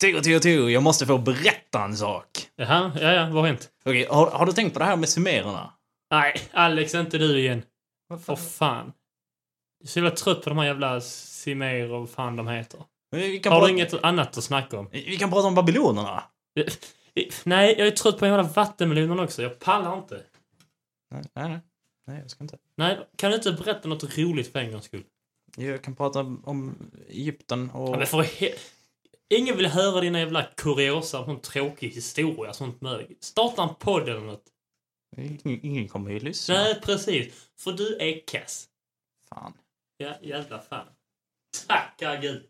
Tio, tio, tio, jag måste få berätta en sak. Jaha, ja, ja, vad har hänt? Okej, har, har du tänkt på det här med sumererna? Nej, Alex, inte du igen. Vad För fan. Jag är så jävla trött på de här jävla Simer och vad fan de heter. Vi kan, Har prata, du inget annat att snacka om? vi kan prata om babylonerna. Nej, jag är trött på den jävla vattenmelonen också. Jag pallar inte. Nej, nej, nej. nej, jag ska inte. Nej, kan du inte berätta något roligt för en gångs skull? Jag kan prata om Egypten Ja, och... men för he- Ingen vill höra dina jävla kuriosa, sån tråkig historia, sånt mög. Starta en podd eller något. Ingen, ingen kommer ju lyssna. Nej, precis. För du är kass. Fan. Ja, jävla fan. Tacka gud.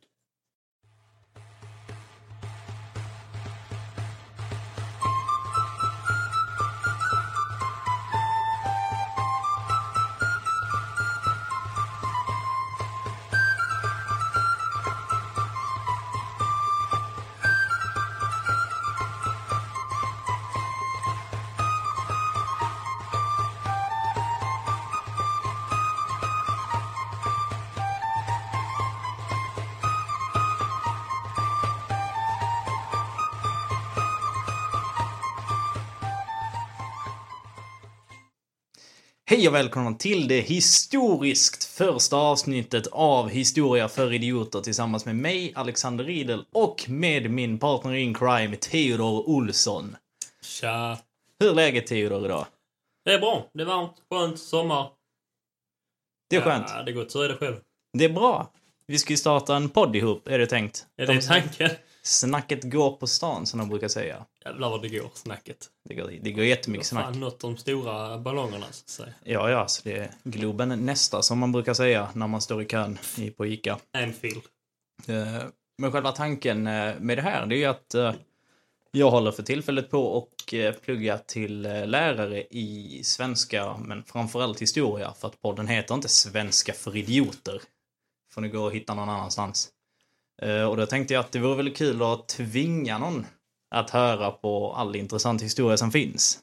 Hej och välkomna till det historiskt första avsnittet av Historia för idioter tillsammans med mig, Alexander Riedel, och med min partner in crime, Theodor Olsson. Tja. Hur är läget Theodor idag? Det är bra. Det är varmt, skönt, sommar. Det är skönt. Ja, det är gott. Så är det själv. Det är bra. Vi ska ju starta en podd ihop, är det tänkt. Är det tanken? Snacket går på stan, som de brukar säga. Jävlar vad det går, snacket. Det går, det går jättemycket snack. Fan, något om stora ballongerna, så att säga. Ja, ja, så det är Globen nästa, som man brukar säga när man står i kön i- på ICA. Anfield. Eh, Men själva tanken eh, med det här, det är ju att eh, jag håller för tillfället på och eh, plugga till eh, lärare i svenska, men framförallt historia, för att podden heter inte Svenska för idioter. Får ni gå och hitta någon annanstans. Eh, Och då tänkte jag att det vore väl kul att tvinga någon att höra på all intressant historia som finns.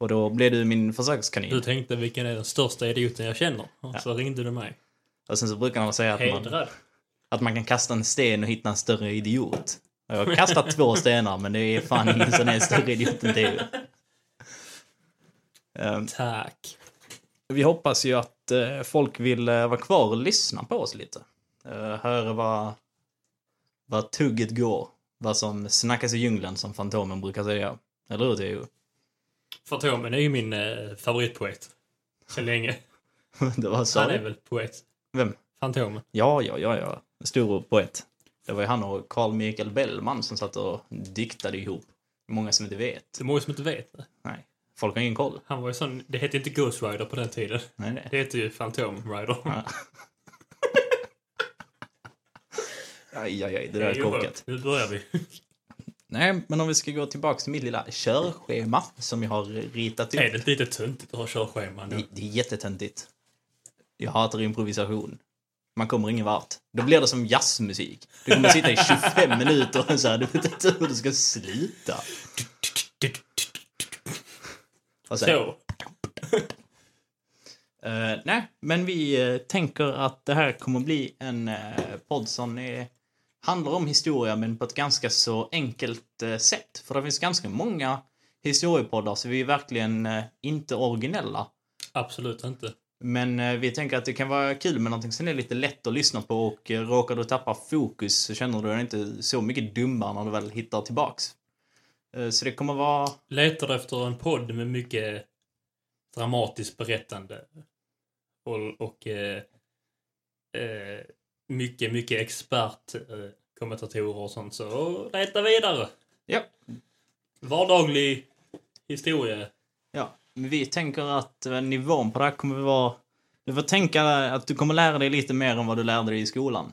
Och då blev du min försökskanin. Du tänkte vilken är den största idioten jag känner? Och så ringde du mig. Och sen så brukar man säga att man, Hedrad. att man kan kasta en sten och hitta en större idiot. Och Jag har kastat två stenar men det är fan ingen som är en större idiot än det. Ehm, Tack. Vi hoppas ju att eh, folk vill eh, vara kvar och lyssna på oss lite. Eh, Höra vad, vad tugget går. Vad som snackas i djungeln som Fantomen brukar säga. Eller hur Theo? Fantomen är ju min eh, favoritpoet. Så länge. Det var så. Han är väl poet. Vem? Fantomen. Ja, ja, ja, ja. Stor poet. Det var ju han och Carl Michael Bellman som satt och diktade ihop. Många som inte vet. Det är många som inte vet det. Nej. Folk har ingen koll. Han var ju sån, det hette inte Ghost Rider på den tiden. Nej, nej. Det hette ju Fantom Rider. Aj, aj, aj, det där är korkat. Nu börjar vi. Nej, men om vi ska gå tillbaka till mitt lilla körschema som jag har ritat upp. Är det lite töntigt att ha körschema nu? Det, det är jättetöntigt. Jag hatar improvisation. Man kommer ingen vart. Då blir det som jazzmusik. Du kommer sitta i 25 minuter och så här, du vet inte hur du ska sluta. Och så, Så. Eh, nej, men vi eh, tänker att det här kommer bli en eh, podd som är, handlar om historia men på ett ganska så enkelt eh, sätt. För det finns ganska många historiepoddar så vi är verkligen eh, inte originella. Absolut inte. Men eh, vi tänker att det kan vara kul med någonting som är lite lätt att lyssna på och eh, råkar du tappa fokus så känner du dig inte så mycket dummare när du väl hittar tillbaks. Eh, så det kommer vara... Letar du efter en podd med mycket dramatiskt berättande och, och eh, eh, mycket, mycket expertkommentatorer eh, kommentatorer och sånt så leta vidare. Ja, Vardaglig historia. Ja, men vi tänker att eh, nivån på det här kommer vara... Du får tänka dig att du kommer lära dig lite mer än vad du lärde dig i skolan.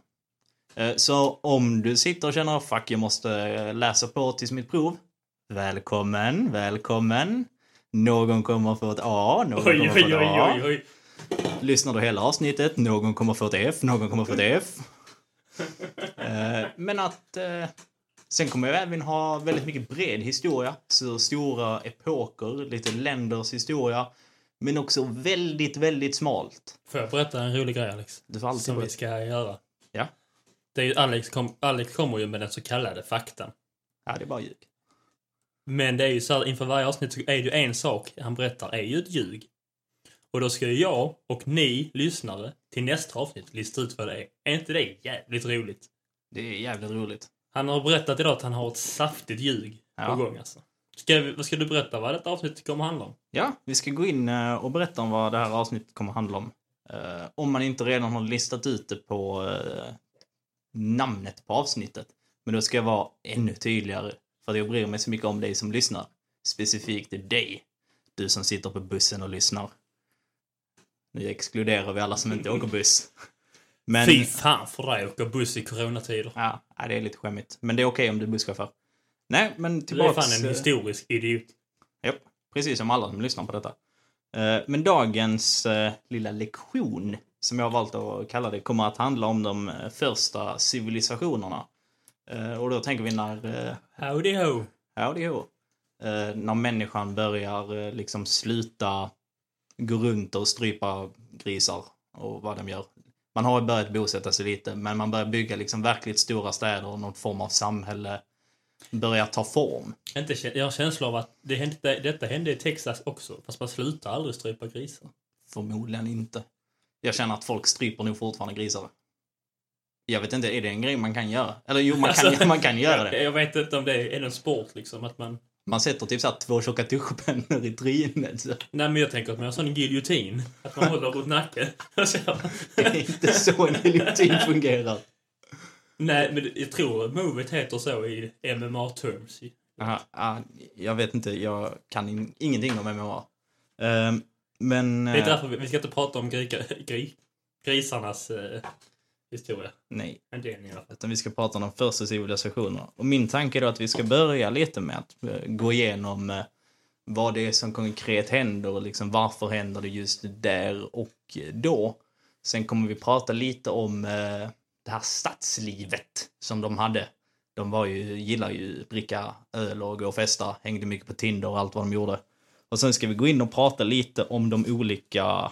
Eh, Så om du sitter och känner fuck, jag måste eh, läsa på tills mitt prov. Välkommen, välkommen. Någon kommer få ett A, någon Oj, kommer oj, få ett oj, A. oj, oj. Lyssnar du hela avsnittet, någon kommer få ett F, någon kommer få ett F. Eh, Men att... eh, Sen kommer jag även ha väldigt mycket bred historia. Så stora epoker, lite länders historia. Men också väldigt, väldigt smalt. Får jag berätta en rolig grej Alex? Du får alltid... som vi berätta. ska göra. Ja. Det är ju Alex, kom, Alex kommer ju med den så kallade faktan. Ja, det är bara ljug. Men det är ju så här, inför varje avsnitt så är det ju en sak han berättar är ju ett ljug. Och då ska ju jag och ni lyssnare till nästa avsnitt lista ut vad det är. Är inte det jävligt roligt? Det är jävligt roligt. Han har berättat idag att han har ett saftigt ljug Ja. på gång alltså. Ska, vi- vad ska du berätta vad detta avsnitt kommer handla om? Ja, vi ska gå in eh, och berätta om vad det här avsnittet kommer handla om. Eh, Om man inte redan har listat ut det på eh, namnet på avsnittet. Men då ska jag vara ännu tydligare. För att jag bryr mig så mycket om dig som lyssnar. Specifikt dig. Du som sitter på bussen och lyssnar. Nu exkluderar vi alla som inte åker buss. Men, Fy fan för dig att åka buss i coronatider. Ja, ja, det är lite skämmigt. Men det är okej om du är busschaufför. Nej, men Du är tillbaks... fan en eh, historisk idiot. Japp, precis som alla som lyssnar på detta. Eh, Men dagens eh, lilla lektion, som jag har valt att kalla det, kommer att handla om de eh, första civilisationerna. Eh, Och då tänker vi när, eh, Howdy ho! ja det är hur. Eh, när människan börjar eh, liksom sluta gå runt och strypa grisar och vad de gör. Man har ju börjat bosätta sig lite, men man börjar bygga liksom verkligt stora städer och någon form av samhälle börjar ta form. Inte, kä- jag har känsla av att det hände, det- detta hände i Texas också, fast man slutar aldrig strypa grisar. Förmodligen inte. Jag känner att folk stryper nog fortfarande grisar. Jag vet inte, är det en grej man kan göra? Eller jo, man kan, Alltså, man kan göra det. Jag, jag vet inte om det är, är det en sport liksom, att man... Man sätter typ såhär två tjocka tuschpennor i trynet. Så Nej men jag tänker att man har sån giljotin, att man håller runt nacken. Och så- det är inte så en giljotin fungerar. Nej men jag tror att movet heter så i MMA-terms. Aha, ah, jag vet inte, jag kan in, ingenting om MMA. Ehm, men... Det är eh, därför vi, vi ska inte prata om grika, gri, grisarnas eh, historia. nej. Men det är ni i alla fall. utan vi ska prata om de första civilisationerna. Och min tanke är då att vi ska börja lite med att eh, gå igenom eh, vad det är som konkret händer och liksom varför händer det just där och eh, då. Sen kommer vi prata lite om eh, det här stadslivet som de hade. De var ju, gillar ju dricka öl och gå och festa, hängde mycket på Tinder och allt vad de gjorde. Och sen ska vi gå in och prata lite om de olika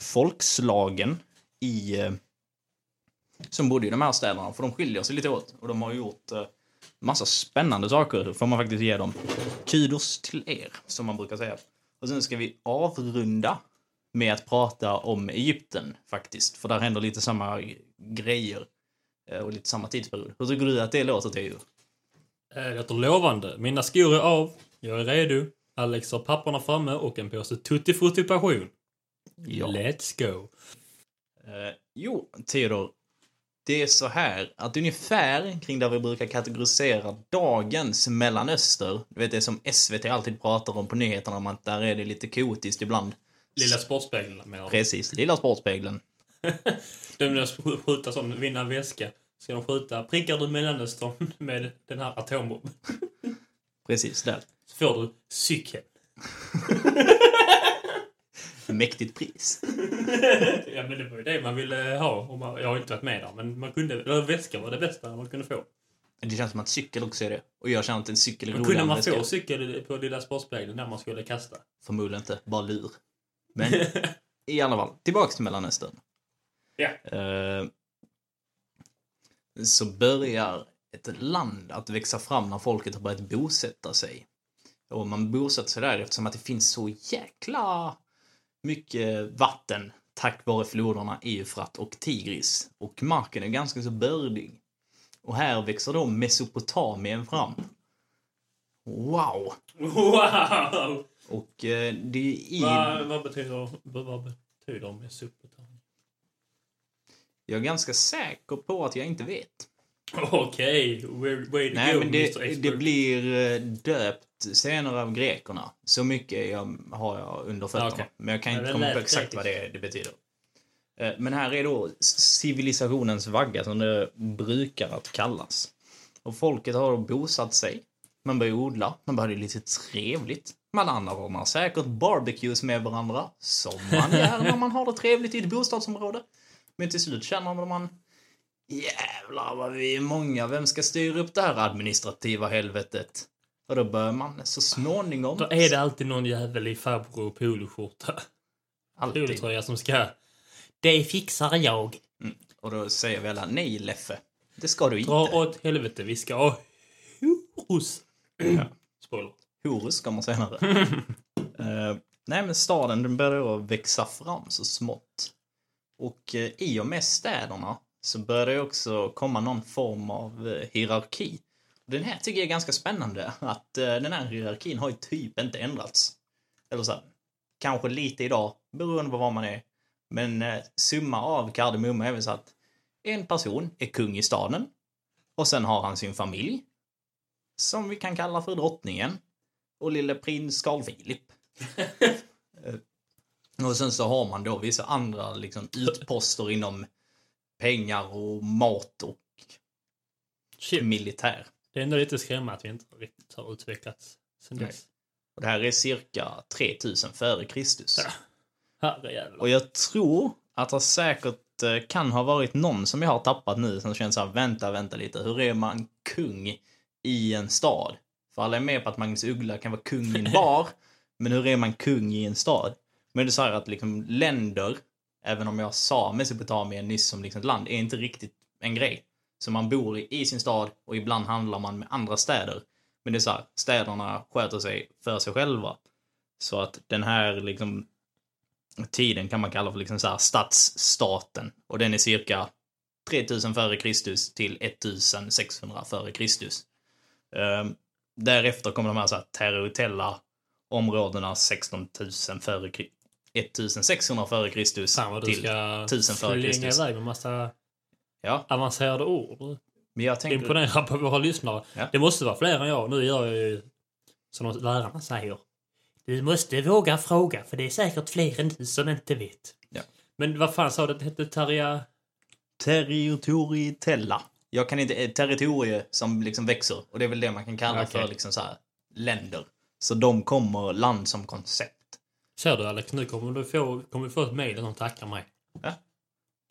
folkslagen i eh, som bodde i de här städerna, för de skiljer sig lite åt. Och de har gjort eh, massa spännande saker, får man faktiskt ge dem. Kudos till er, som man brukar säga. Och sen ska vi avrunda med att prata om Egypten, faktiskt. För där händer lite samma grejer eh, och lite samma tidsperiod. Hur tycker du att det låter, Teo? Eh, Det låter lovande. Mina skor är av. Jag är redo. Alex har papperna framme och en påse tutti frutti passion. Let's go. Eh, jo, Theodor. Det är så här att ungefär kring där vi brukar kategorisera dagens Mellanöster, du vet det som SVT alltid pratar om på nyheterna om att där är det lite kaotiskt ibland. Lilla Sportspegeln med Precis, Lilla Sportspegeln. De där som skjuta som vinna en väska. Ska de skjuta, prickar du Mellanöstern med den här atombomben Precis, där. så får du cykeln. Mäktigt pris. ja men det var ju det man ville eh, ha. Och man, jag har inte varit med där men man kunde, eller väska var det bästa man kunde få. Det känns som att cykel också är det. Och jag känner att en cykel är Men roligare kunde än man väska. få cykel på Lilla Sportspegeln när man skulle kasta? Förmodligen inte, bara lur. Men i alla fall, tillbaks till Mellanöstern. Ja. Eh, så börjar ett land att växa fram när folket har börjat bosätta sig. Och man bosätter sig där eftersom att det finns så jäkla mycket vatten tack vare floderna Eufrat och Tigris. Och marken är ganska så bördig. Och här växer då Mesopotamien fram. Wow! Wow! Och eh, det är i... Vad, vad betyder, vad, vad betyder Mesopotamien? Jag är ganska säker på att jag inte vet. Okej, way, way to Nej, go men Mr. det, Expert. det blir eh, döpt senare av grekerna. Så mycket är jag, har jag under fötterna. Okej. Men jag kan Ja, inte det komma lät på exakt grekiskt. vad det, det betyder. Eh, Men här är då civilisationens vagga som det brukar att kallas. Och folket har då bosatt sig. Man börjar odla, man börjar ha det lite trevligt. Man anordnar säkert barbecues med varandra, som man gör när man har det trevligt i ett bostadsområde. Men till slut känner man Jävlar vad vi är många, vem ska styra upp det här administrativa helvetet? Och då börjar man så småningom... Då är det alltid någon jävel i farbror och poloskjorta. alltid. Polotröja som ska... Det fixar jag. Och då säger vi alla nej Leffe, det ska du inte. Dra åt helvete, vi ska ha Horus. Spoiler. Horus kommer senare. Eh, nej, men staden den börjar då växa fram så smått. Och eh, i och med städerna så börjar det också komma någon form av eh, hierarki. Och den här tycker jag är ganska spännande, att eh, den här hierarkin har ju typ inte ändrats. Eller så här, kanske lite idag, beroende på var man är. Men eh, summa av kardemumma är väl så att en person är kung i staden och sen har han sin familj som vi kan kalla för drottningen och lille prins Carl Philip. Eh, och sen så har man då vissa andra liksom, utposter inom pengar och mat och Shit. militär. Det är ändå lite skrämmande att vi inte riktigt har utvecklats sen Nej. dess. Och det här är cirka 3000 före Kristus. Ja. Herrejävlar. Och jag tror att det säkert eh, kan ha varit någon som jag har tappat nu som känner så här, vänta, vänta lite, hur är man kung i en stad? För alla är med på att Magnus Uggla kan vara kung i en bar, men hur är man kung i en stad? Men det är så här att liksom länder, även om jag sa Mesopotamien nyss som liksom ett land, är inte riktigt en grej. Så man bor i, i sin stad och ibland handlar man med andra städer. Men det är så här, städerna sköter sig för sig själva. Så att den här liksom tiden kan man kalla för liksom så här stadsstaten. Och den är cirka 3000 före Kristus till 1600 före Kristus. Ehm, därefter kommer de här, så här territoriella områdena 16 000 före Kri- 1600 före Kristus Fan vad du till... ska 1000 före slänga Kristus. iväg med massa Ja, avancerade ord. men jag tänker... Imponera på våra lyssnare. Ja. Det måste vara fler än jag. Nu gör jag ju som de lärarna säger. Du måste våga fråga för det är säkert fler än du som inte vet. Ja. Men vad fan sa du att det hette? Tarja... territoriella. Jag kan inte, eh, territorie som liksom växer och det är väl det man kan kalla Okej. för liksom så här länder. Så de kommer land som koncept. Kör du Alex, nu kommer du få, kommer vi få ett mejl där de tackar mig.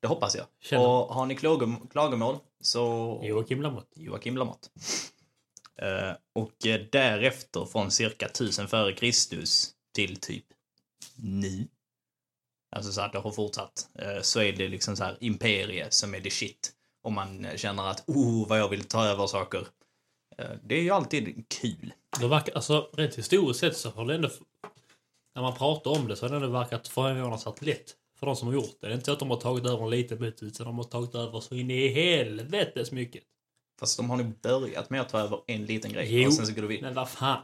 Det hoppas jag. Känner. Och har ni klagom- klagomål så Joakim Lamotte. Joakim Lamotte. Eh, och eh, därefter från cirka 1000 före Kristus till typ nu. Alltså så att det har fortsatt. eh, så är det liksom så här imperie som är det shit. Om man eh, känner att oh vad jag vill ta över saker. Eh, det är ju alltid kul. Det verkar, alltså rent historiskt sett så har det ändå... När man pratar om det så har det ändå verkat förvånansvärt lätt. För de som har gjort det. Det är inte att de har tagit över en liten bit utan de har tagit över så in i helvetes mycket. Fast de har nu börjat med att ta över en liten grej. Jo, och sen så går det vid. Men vad fan.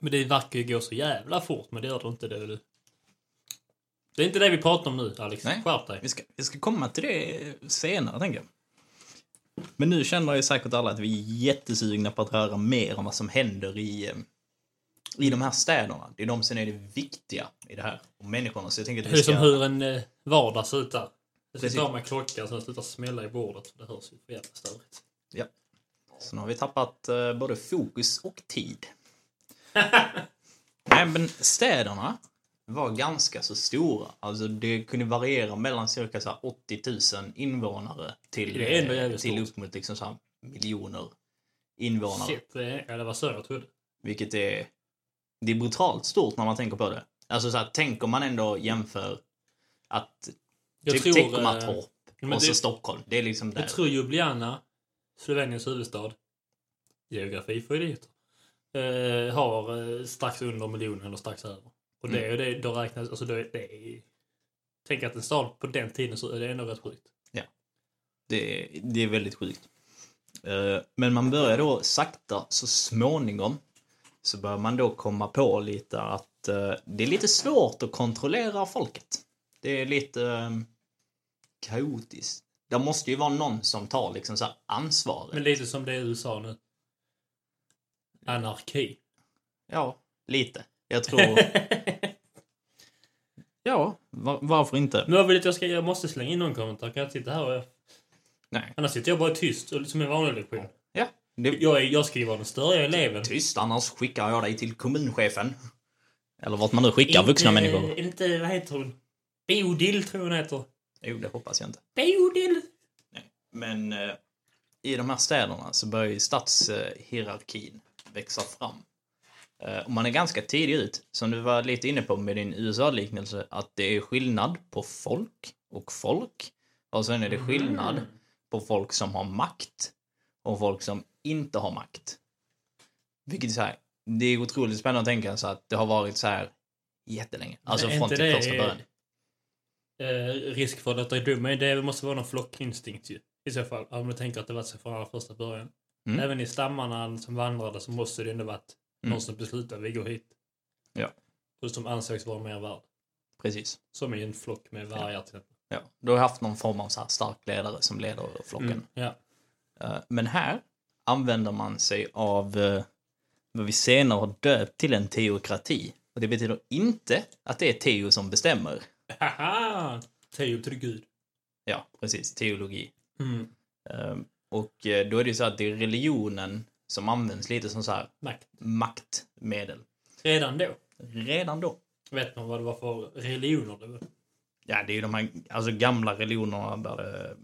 Men det verkar ju gå så jävla fort, men det gör det inte. Det, är väl- det är inte det vi pratar om nu, Alex. Nej. Skärp dig. Vi ska, vi ska komma till det senare, tänker jag. Men nu känner ju säkert alla att vi är jättesugna på att höra mer om vad som händer i, eh, i de här städerna. Det är de som är det viktiga i det här. Och människorna. Så jag tänker att Det vi är som ska... hur en eh, vardag ser ut där. Jag ska Precis. ta med klockan så den slutar smälla i bordet. för Det hörs ju för jävla störigt. Så nu har vi tappat eh, både fokus och tid. Nej, men städerna var ganska så stora. Alltså det kunde variera mellan cirka så här 80 000 invånare till, Det är ändå eh, jävligt till stort. upp mot liksom så här miljoner invånare. Shit, det, är- ja, det var så jag trodde. Vilket är... Det är brutalt stort när man tänker på det. Alltså så här, tänk om man ändå jämför att... Jag typ tror, eh, Teckomatorp men och så det- Stockholm. Det är liksom där. Jag tror Ljubljana, Sloveniens huvudstad, geografi för idioter, eh, har eh, strax under miljonen eller strax över. Och Mm. det, är det, då räknas, alltså det, det är, Tänk att en stad på den tiden så är det ändå rätt sjukt. Det, det är väldigt sjukt. Eh, Men man börjar då sakta, så småningom, så börjar man då komma på lite att eh, det är lite svårt att kontrollera folket. Det är lite eh, kaotiskt. Det måste ju vara någon som tar liksom så här ansvaret. Men lite som det är i USA nu. Anarki. Ja, lite. Jag tror... ja, var, varför inte? Nu har vi lite, jag, ska, jag måste slänga in någon kommentar. Kan jag sitta här och... Nej. Annars sitter jag bara tyst, och- som en vanlig lektion. Ja. Det, Jag, är, jag ska ju vara den störiga eleven. tyst, annars skickar jag dig till kommunchefen. Eller vart man nu skickar vuxna inte, eh, människor. Inte, vad heter hon? Bodil tror jag hon heter. Jo, det hoppas jag inte. Bodil! Men eh, i de här städerna så börjar ju stadshierarkin växa fram. Eh, och man är ganska tidig ut, som du var lite inne på med din USA-liknelse, att det är skillnad på folk och folk. Och sen är Mm. det skillnad på folk som har makt och folk som inte har makt. Vilket är så här, det är otroligt spännande att tänka sig att det har varit så här jättelänge. Alltså Men är från inte typ det- första början. Eh, risk för att det är dum, men det måste vara någon flockinstinkt ju. I så fall, om du tänker att det var så från allra första början. Mm. Även i stammarna som vandrade så måste det ändå varit Mm. någon som beslutade vi går hit. Ja. Och som ansågs vara mer värd. Precis. Som i en flock med vargar till exempel. Ja. Du har haft någon form av så här stark ledare som leder flocken. Mm. Ja. Eh, Men här använder man sig av eh, vad vi senare har döpt till en teokrati. Och det betyder inte att det är teo som bestämmer. Haha! Teo till Gud. Ja, precis. Teologi. Mm. Eh, Och eh, då är det ju så att det är religionen som används lite som så här Makt. maktmedel. Redan då Redan då. vet man vad det var för religioner det var. Ja, det är ju de här alltså, gamla religionerna där det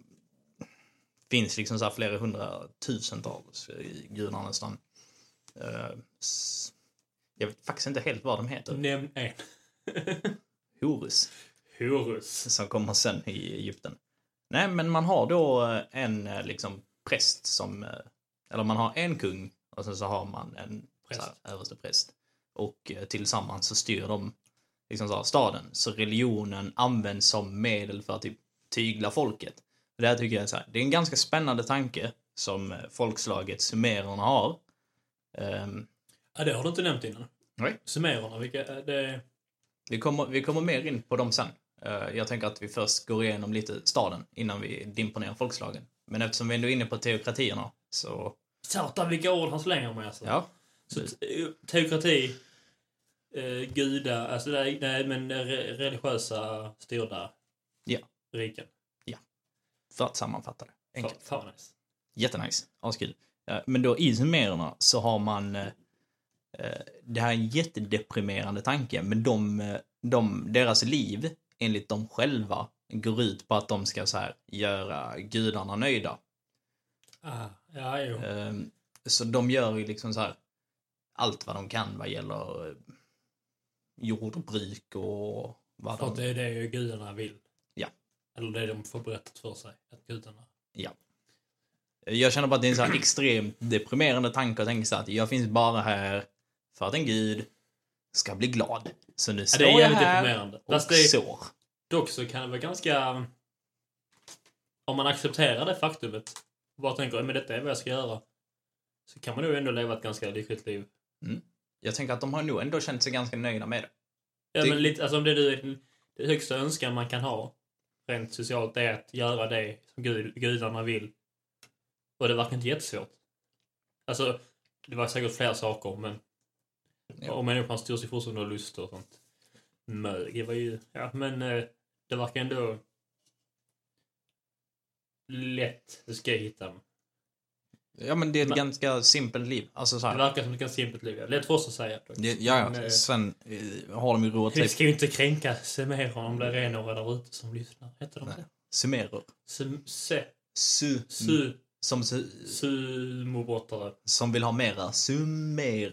finns liksom så här flera hundratusentals i gudarna nästan. Eh, s- Jag vet faktiskt inte helt vad de heter. Nämn en. Horus Horus. som kommer sen i Egypten. Nej, men man har då eh, en eh, liksom präst som, eh, eller man har en kung och sen så har man en Präst. så här överstepräst. Och eh, tillsammans så styr de liksom så här, staden. Så religionen används som medel för att typ tygla folket. Det här tycker jag är så här, det är en ganska spännande tanke som eh, folkslaget sumererna har. Ehm, Ja, det har du inte nämnt innan. Nej. Sumererna, vilka är det? Vi kommer, vi kommer mer in på dem sen. Eh, Jag tänker att vi först går igenom lite staden innan vi dimper ner folkslagen. Men eftersom vi ändå är inne på teokratierna så... Satan vilka ord han slänger med alltså. Ja. Så te- teokrati, eh, gudar, alltså nej, nej men re, religiösa styrda Ja. riken. För att sammanfatta det. Fa- Enkelt. Fan vad nice. Jättenice. Askul. Eh, Men då i sumererna så har man... eh, eh, Det här är en jättedeprimerande tanke, men de, eh, de, deras liv, enligt dem själva, går ut på att de ska så här göra gudarna nöjda. Ah, ja, jo. Ehm, Så de gör ju liksom så här allt vad de kan vad gäller eh, jordbruk och vad För att de... det är det gudarna vill. Ja. Eller det de får berättat för sig, att gudarna. Jag känner bara att det är en så här extremt deprimerande tanke att tänka sig att jag finns bara här för att en gud ska bli glad. Så nu Ja, står det är jag jävligt här deprimerande. och Fast det är, sår. dock så kan det vara ganska... Om man accepterar det faktumet och bara tänker men detta är vad jag ska göra. Så kan man nog ändå leva ett ganska lyckligt liv. Jag tänker att de har nog ändå känt sig ganska nöjda med det. Ja, Det- men lite, alltså om det du är det högsta önskan man kan ha rent socialt är att göra det som gud, gudarna vill. Och det verkar inte jättesvårt. Alltså, det var säkert fler saker, men Ja. om människan styr sig fortfarande av lust och sånt. Mög, det var ju... Ja, men eh, det verkar ändå lätt. Det ska jag hitta. Ja, men det är ett Men- ganska simpelt liv. Alltså så Det här. verkar som ett ganska simpelt liv. ja. Lätt för oss att säga. dock. Det, ja, Men, ja. eh, Sen eh, har de ju roat Vi sig ska ju inte kränka sumererna om det är några där ute som lyssnar. Heter de Nej. det? sumerer. Sum, se, Su, su, som su, Sumobrottare. som vill ha mera summer.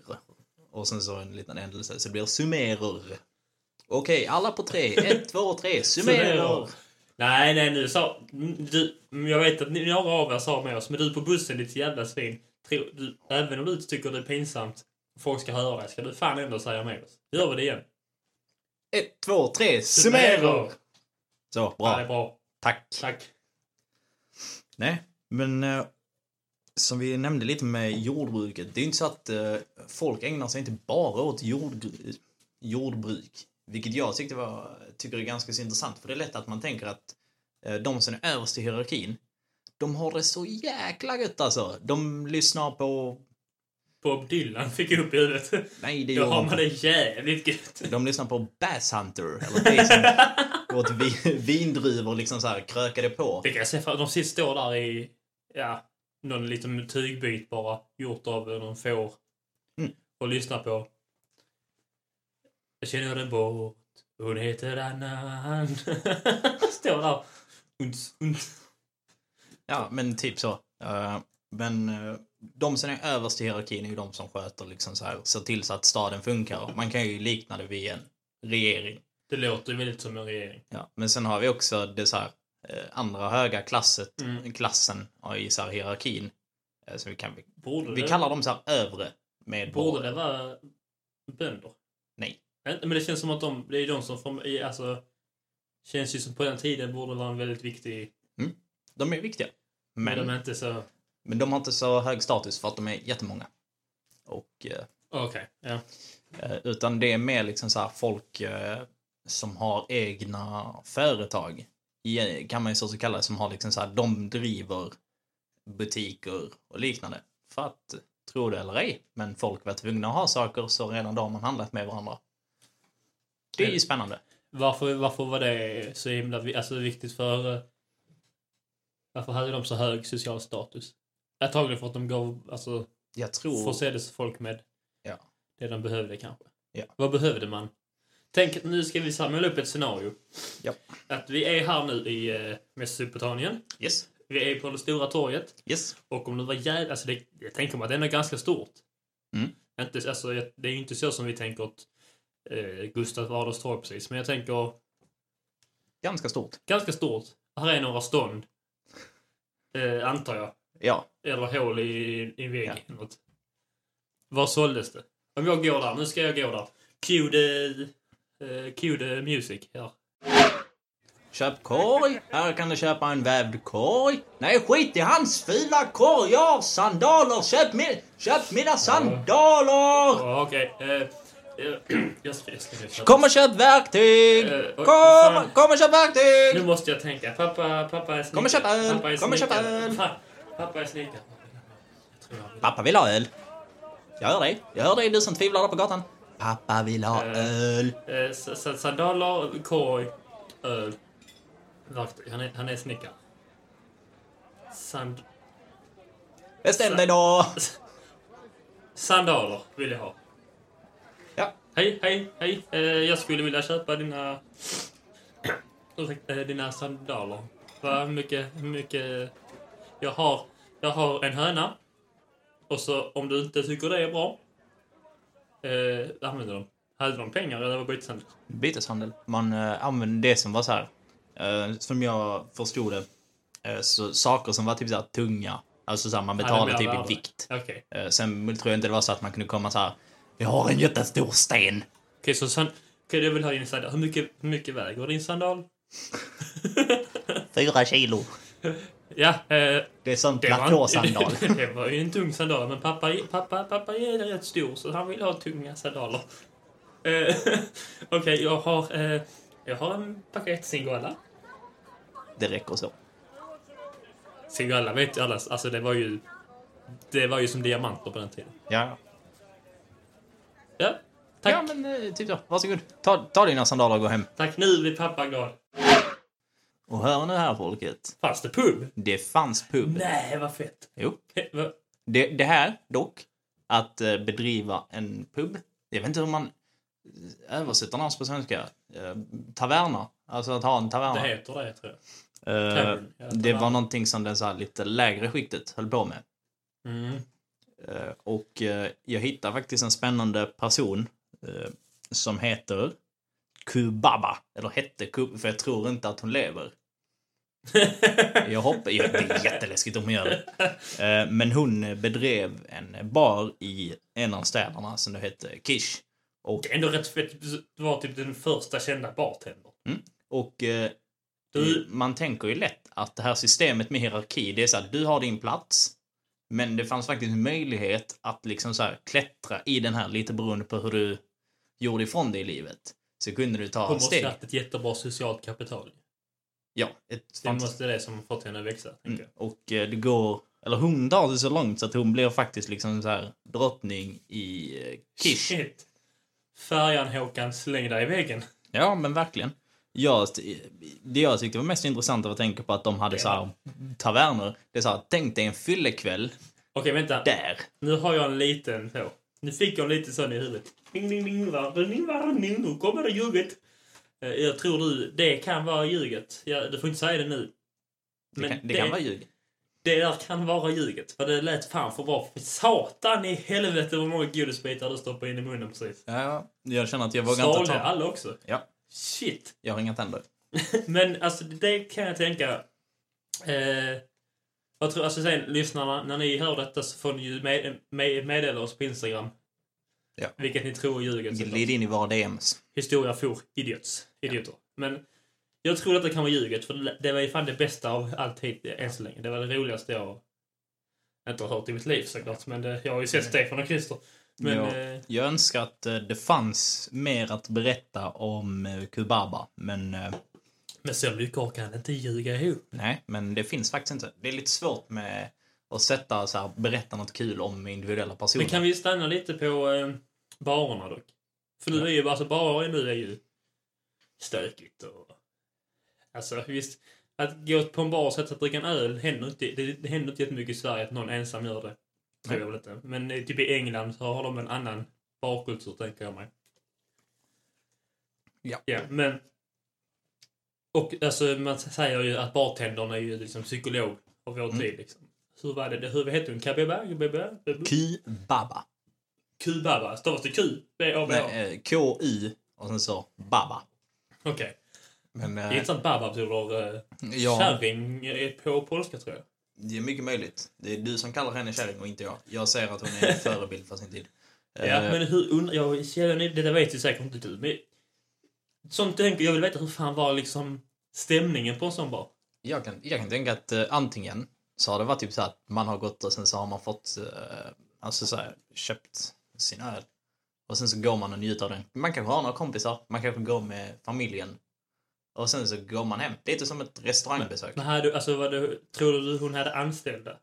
Och sen så en liten ändelse, så det blir summerer. Okej, alla på tre. Ett, två, tre. Summerer! Summerer. Nej, nej, nu sa... mm, Du, jag vet att ni- några av er sa med oss, men du på bussen, ditt jävla svin. Tror Du, även om du inte tycker det är pinsamt, folk ska höra det, ska du fan ändå säga med oss. Gör vi det igen. Ett, två, tre. Summerer! Så, Ja, det bra. är bra. Tack. Tack. Nej, men eh, som vi nämnde lite med jordbruket. Det är ju inte så att eh, folk ägnar sig inte bara åt jordgr- jordbruk. Vilket jag tyckte var, tycker är ganska så intressant. För det är lätt att man tänker att eh, de som är överst i hierarkin, de har det så jäkla gött alltså. De lyssnar på... Bob Dylan fick upp i huvudet. Nej, det Då gör har de man inte. det jävligt gött. De lyssnar på Bass Hunter, eller Bass Hunter. Åt vi, vindruvor liksom så här krökade på. Det kan jag se för de sista står där i, ja, någon liten tygbit bara, gjort av någon får. Mm. Och lyssnar på. Jag känner en båt, hon heter Anna. står där. Uns, uns. Ja, men typ så. Eh, Men eh, de som är överst i hierarkin är ju de som sköter liksom så här, ser till så att staden funkar. Man kan ju likna det vid en regering. Det låter ju väldigt som en regering. Ja, men sen har vi också det så här eh, andra höga klasset, Mm. klassen ja, i så här hierarkin. eh, Som vi, kan, Borde vi det? kallar dem så här övre. med Borde vår... det vara bönder? Nej. Inte, Men det känns som att de, det är de som får, i- alltså, känns ju som på den tiden borde vara en väldigt viktig, De är viktiga. men Men, de är inte så, men de har inte så hög status för att de är jättemånga. Och, eh, okej, ja. eh, utan det är mer liksom så här folk eh, som har egna företag. I- Kan man ju så så kalla det. Som har liksom så här, de driver butiker och liknande. För att, tro det eller ej, men folk var tvungna att ha saker så redan då har man handlat med varandra. Det är ju spännande. Varför, varför var det så himla vi- alltså, viktigt för... eh, Varför hade de så hög social status? Antagligen för att de gav, alltså, Jag tror... försedelsefolk med Ja. det de behövde kanske. Ja. Vad behövde man? Tänk, att nu ska vi samla upp ett scenario. Ja. Att vi är här nu i eh, Mesopotamien. Yes. Vi är på det stora torget. Yes. Och om det var jävligt... Alltså det, jag tänker mig att det är nog ganska stort. Mm. Inte, alltså, jag- det är ju inte så som vi tänker åt eh, Gustav Adolfs torg precis. Men jag tänker Ganska stort. ganska stort. Här är några stånd. Eh, antar jag. Ja. Eller hål i, i en vägg. Ja. eller Något. Var såldes det? Om jag går där, nu ska jag gå där. Cue the, eh, cue the music här. Köp korg. Här kan du köpa en vävd korg. Nej, skit i hans fula korg. Jag har sandaler. Köp, mi- köp mina sandaler. Ja, Okej. eh, eh, jag ska, jag ska, jag ska. Kom och köp verktyg. Eh, oj, Kom, fan. kom och köp Nu verktyg. måste jag tänka. Pappa, pappa är snickare. Kom och köp öl. Pappa är Kom och köp snickare. öl. Fa- Pappa är snickare. Jag tror jag vill- Pappa vill ha öl. Jag hör dig. Jag hör dig, du som tvivlar där på gatan. Pappa vill ha Eh. öl. Eh, s- s- Sandaler, korg, öl. Verktyg. Han är, han är snickare. Sand... Bestäm Så- dig då. Sandaler vill jag ha. Ja. Hej, hej, hej. Eh, jag skulle vilja köpa dina... Ursäkta, eh, dina sandaler. Vad mycket, hur mycket... Jag har, jag har en höna. Och så om du inte tycker det är bra... Eh, använder de. Hade de pengar eller var byteshandel? byteshandel. Man eh, använde det som var så här. eh, som jag förstod det. eh, så saker som var typ så här tunga. Alltså så här, man det betalade blir typ värre. i vikt. Okej. Okej, Eh, sen tror jag inte det var så att man kunde komma så här. Vi har en jättestor sten. så san... Okej, jag vill ha din sandal. Hur mycket, hur mycket väger din sandal? Fyra kilo. ja, eh, Det är sån Det var, platåsandal. en, det var ju en tung sandal, men pappa, pappa, pappa är rätt stor så han vill ha tunga sandaler. Eh, Okej, jag har... Eh, jag har en paket Singoalla. det räcker så. Singoalla vet ju alla, alltså det var ju... Det var ju som diamanter på den tiden. Ja. Ja, tack. Ja men eh, typ så. Varsågod. Ta, ta dina sandaler och gå hem. Tack, nu blir pappa glad. Och hör nu här folket. Fanns det pub? Det fanns pub. Nej, vad fett. Jo. Eh, vad- Det, det här dock, att eh, bedriva en pub. Jag vet inte hur man eh, översätter namn på svenska. Eh, Taverna. Alltså att ha en Det taverna. Eh, heter det, tror jag. tavern, ja, det taverna. var någonting som det så här lite lägre skiktet höll på med. Mm. Eh, Och eh, jag hittade faktiskt en spännande person eh, som heter Kubaba. Eller hette Kubaba, för jag tror inte att hon lever. Jag hoppas, ja, det är jätteläskigt om hon gör det. Eh, Men hon bedrev en bar i en av städerna som då hette Kish. Och, Det är ändå rätt fett. Det var typ den första kända bartendern. och eh, Du- man tänker ju lätt att det här systemet med hierarki, det är så att du har din plats. Men det fanns faktiskt en möjlighet att liksom så här klättra i den här lite beroende på hur du gjorde ifrån dig i livet. Så kunde du ta Hon ett måste steg. ha haft ett jättebra socialt kapital. Ja, ett Det fantastiskt måste det som fått henne att växa. tänker jag. Och eh, det går, eller hon tar det så långt så att hon blir faktiskt liksom så här drottning i eh, Kish. Shit. Färjan Håkan, släng dig i väggen. Ja, men verkligen. Jag, det jag tyckte var mest intressant var att tänka på att de hade så här taverner. Det är så här, tänk dig en fyllekväll Okej, vänta. där. Nu har jag en liten så. Nu fick jag en liten sån i huvudet. Ding, ding, ding, varning, varning. Nu kommer det ljuget. Eh, Jag tror du, det kan vara ljuget. Ja, du får inte säga det nu. Det kan, det det, kan vara ljug. det där kan vara ljuget. För det lät fan för bra. För satan i helvete vad många godisbitar du stoppade in i munnen precis. Ja, jag känner att jag vågar inte Svalde ta. alla också. Ja, Shit. jag har inga tänder. Men alltså det kan jag tänka. Eh, jag tror, alltså sen lyssnarna, när ni hör detta så får ni ju med, med, meddela oss på Instagram Ja. Vilket ni tror är ljuget. såklart. Glid in i våra DMs. Historia for idiots. Idioter. Men jag tror att det kan vara ljuget, för det- det var ju fan det bästa av allt hit eh, än så länge. Det var det roligaste jag inte har hört i mitt liv såklart. Men det, jag har ju sett Stefan och Christer. Men Ja. eh, Jag önskar att eh, det fanns mer att berätta om eh, Kubaba, men eh, Men så mycket orkar han inte ljuga ihop. nej, men det finns faktiskt inte. Det är lite svårt med att sätta så här, berätta något kul om individuella personer. Men kan vi stanna lite på eh, barerna dock? För nu är ju, alltså barer nu är ju stökigt och... Alltså visst, att gå på en bar och sätta sig och dricka en öl händer inte, det, det händer inte jättemycket i Sverige att någon ensam gör det. Tror jag väl inte. Men eh, typ i England så har de en annan barkultur tänker jag mig. Ja. Ja, men... Och alltså man säger ju att bartendern är ju liksom psykolog av Mm. vår tid liksom. Hur var det? det? Hur hette hon? Kabeba? Kabeba? Kubaba. Kubaba, stavas det Q? B-A-B-A? Nej, eh, K-U och sen så Baba. Okej. Men Det är eh, intressant. Baba betyder eh, ja, kärring eh, på polska, tror jag. det är mycket möjligt. Det är du som kallar henne kärring och inte jag. Jag säger att hon är en förebild för sin tid. Ja, Eh, men hur... und- Jag känner... Detta vet ju säkert inte du, men... Sånt tänker... Jag vill veta hur fan var liksom stämningen på en sån bar? Jag kan, jag kan tänka att eh, antingen så har det varit typ så här att man har gått och sen så har man fått, eh, alltså så här, köpt sin öl. Och sen så går man och njuter av den. Man kanske har några kompisar, man kanske går med familjen. Och sen så går man hem. Lite som ett restaurangbesök. Men hade, alltså, var det, tror du hon hade anställda?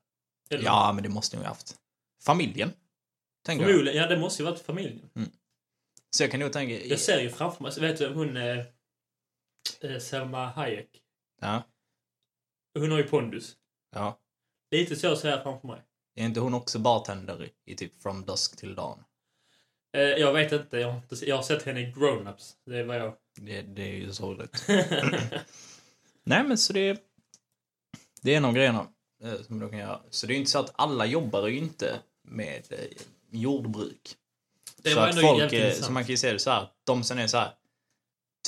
Eller- Ja, men det måste ni ha haft. Familjen, tänker jag. Förmodligen. Ja, det måste ju varit familjen. Så jag kan nog tänka... Jag ser ju framför mig... Vet du, hon... Eh, eh, Selma Hayek. Ja, Hon har ju pondus. ja. Lite så ser jag framför mig. Är inte hon också bartender i- i typ From Dusk Till Dawn? Eh, jag vet inte. Jag har, inte, jag har sett henne i Grown-Ups. Det var jag. Det, det är ju sorgligt. Nej, men så det... Det är en av grejerna eh, som de kan göra. Så det är ju inte så att alla jobbar ju inte med eh, jordbruk. det så var att ändå folk, jävligt eh, intressant. så man kan ju se det så här, de som är så här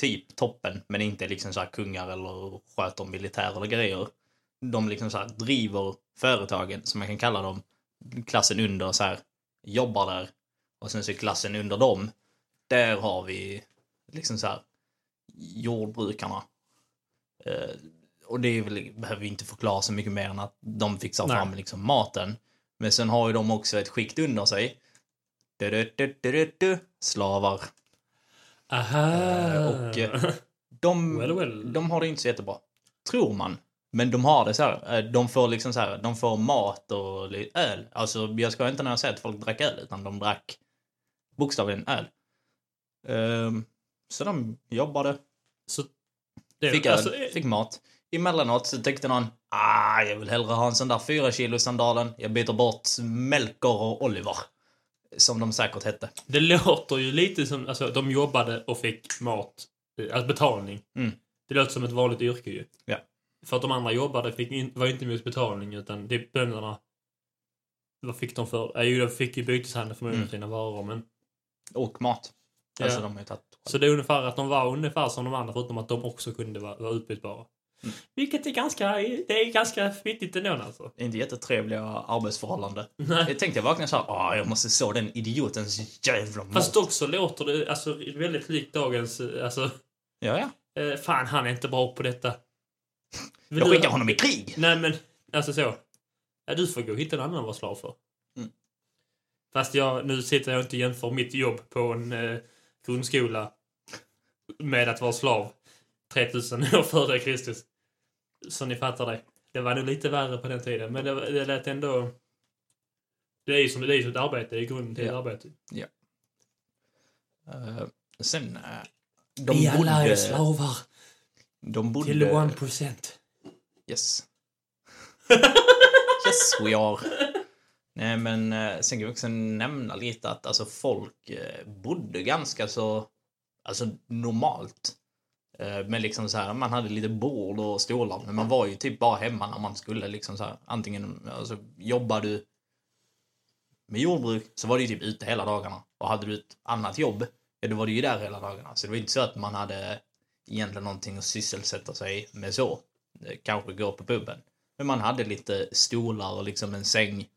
typ toppen, men inte liksom så här kungar eller sköter militär eller grejer. De liksom så här driver företagen, som man kan kalla dem, klassen under så här, jobbar där. Och sen så klassen under dem, där har vi liksom så här jordbrukarna. Eh, och det är väl, behöver vi inte förklara så mycket mer än att de fixar Nej. fram liksom maten. Men sen har ju de också ett skikt under sig. Du, du, du, du, du, du, slavar. Aha! Eh, och, eh, De, Well, well. de har det inte så jättebra. Tror man. Men de har det så här. eh, De får liksom så här, de får mat och li- öl. Alltså jag ska inte när jag säger att folk drack öl, utan de drack bokstavligen öl. Ehm, så de jobbade, så, det, fick öl, alltså, eh, fick mat. Emellanåt så tyckte någon ah, jag vill hellre ha en sån där 4 kilo sandalen. Jag byter bort Melker och Oliver. Som de säkert hette. det låter ju lite som... Alltså, de jobbade och fick mat. eh, Alltså betalning. Mm. Det låter som ett vanligt yrke ju. Ja. För att de andra jobbade fick in, var ju inte mot betalning utan det bönderna... Vad fick de för? Eh, Jo, de fick ju byteshandel förmodligen Mm. för sina varor men... Och mat. Ja. Alltså de har ju tagit Så det är ungefär att de var ungefär som de andra förutom att de också kunde vara, vara utbytbara. Mm. Vilket är ganska, det är ganska fittigt ändå alltså. inte jättetrevliga arbetsförhållanden. Nej. Jag tänkte jag vaknade såhär, åh "Ah, jag måste så den idiotens jävla mat. Fast också låter det alltså, väldigt likt dagens... eh, Alltså, Ja, ja. eh, fan, han är inte bra på detta. Men Jag du- skickar honom i krig! Nej, men alltså så. Ja, du får gå och hitta en annan att vara slav för. Mm. Fast jag, nu sitter jag inte och jämför mitt jobb på en eh, grundskola med att vara slav 3000 år före Kristus. Så ni fattar det. Det var nog lite värre på den tiden, men det, var- det lät ändå... Det är ju som, det är ju som ett arbete, det är grunden till ett Ja. arbete. Eh, sen, eh, de Vi alla är bodde... slavar De till bodde... 1%. Yes. yes we are. Nej men eh, sen kan vi också nämna lite att alltså folk eh, bodde ganska så, alltså normalt. Eh, Men liksom så här, man hade lite bord och stolar, men man var ju typ bara hemma när man skulle liksom så här, antingen, alltså jobbar du med jordbruk så var det ju typ ute hela dagarna. Och hade du ett annat jobb, ja då var det ju där hela dagarna. Så det var inte så att man hade egentligen någonting att sysselsätta sig med så. Eh, Kanske gå på puben. Men man hade lite stolar och liksom en säng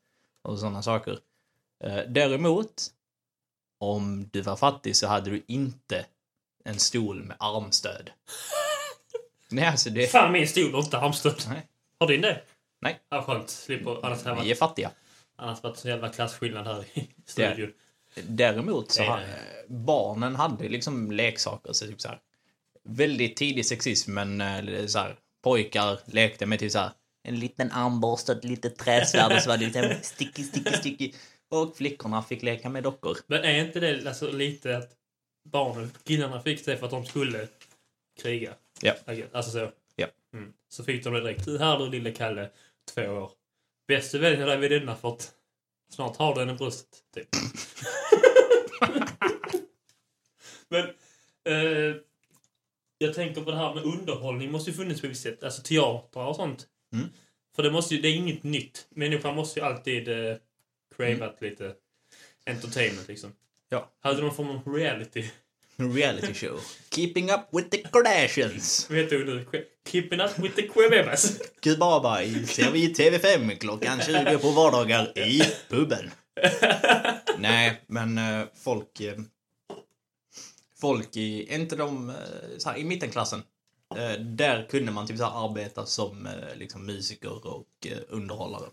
och sådana saker. Eh, Däremot om du var fattig så hade du inte en stol med armstöd. Nej, alltså det... Fan, min stol har inte armstöd. Nej. Har din det? Nej. Ja, skönt. Slipper. Annars hade Vi det är fattiga. annars varit så jävla klasskillnad här i studion. Däremot så Det är har, eh, det. barnen hade liksom leksaker. Så typ så här, väldigt tidig sexism, men eh, så här, pojkar lekte med typ så här, en liten armborste och ett litet träsvärd och så var det liksom sticky, sticky, sticky. Och flickorna fick leka med dockor. Men är inte det alltså, lite att barnen, killarna fick det för att de skulle kriga? Ja. Alltså så. Ja. Mm. Så fick de det direkt. Här du lille Kalle, två år. Bäst du vänjer dig vid denna för att snart har du den i bröstet. Typ. Men eh, jag tänker på det här med underhållning måste ju funnits på ett visst sätt. Alltså teater och sånt. Mm. För det, måste ju, det är inget nytt. Människan måste ju alltid eh, cravat lite entertainment liksom. Ja. Hade de form av reality? Reality show. Keeping up with the Kardashians. Vad heter det nu? Que- Keeping up with the Quebebas. Kubaba i- ser vi i TV5 klockan 20 på vardagar i puben. Nej, men eh, folk... eh, Folk i, inte de, eh, så här, i mittenklassen. eh, Där kunde man typ så här arbeta som eh, liksom musiker och eh, underhållare.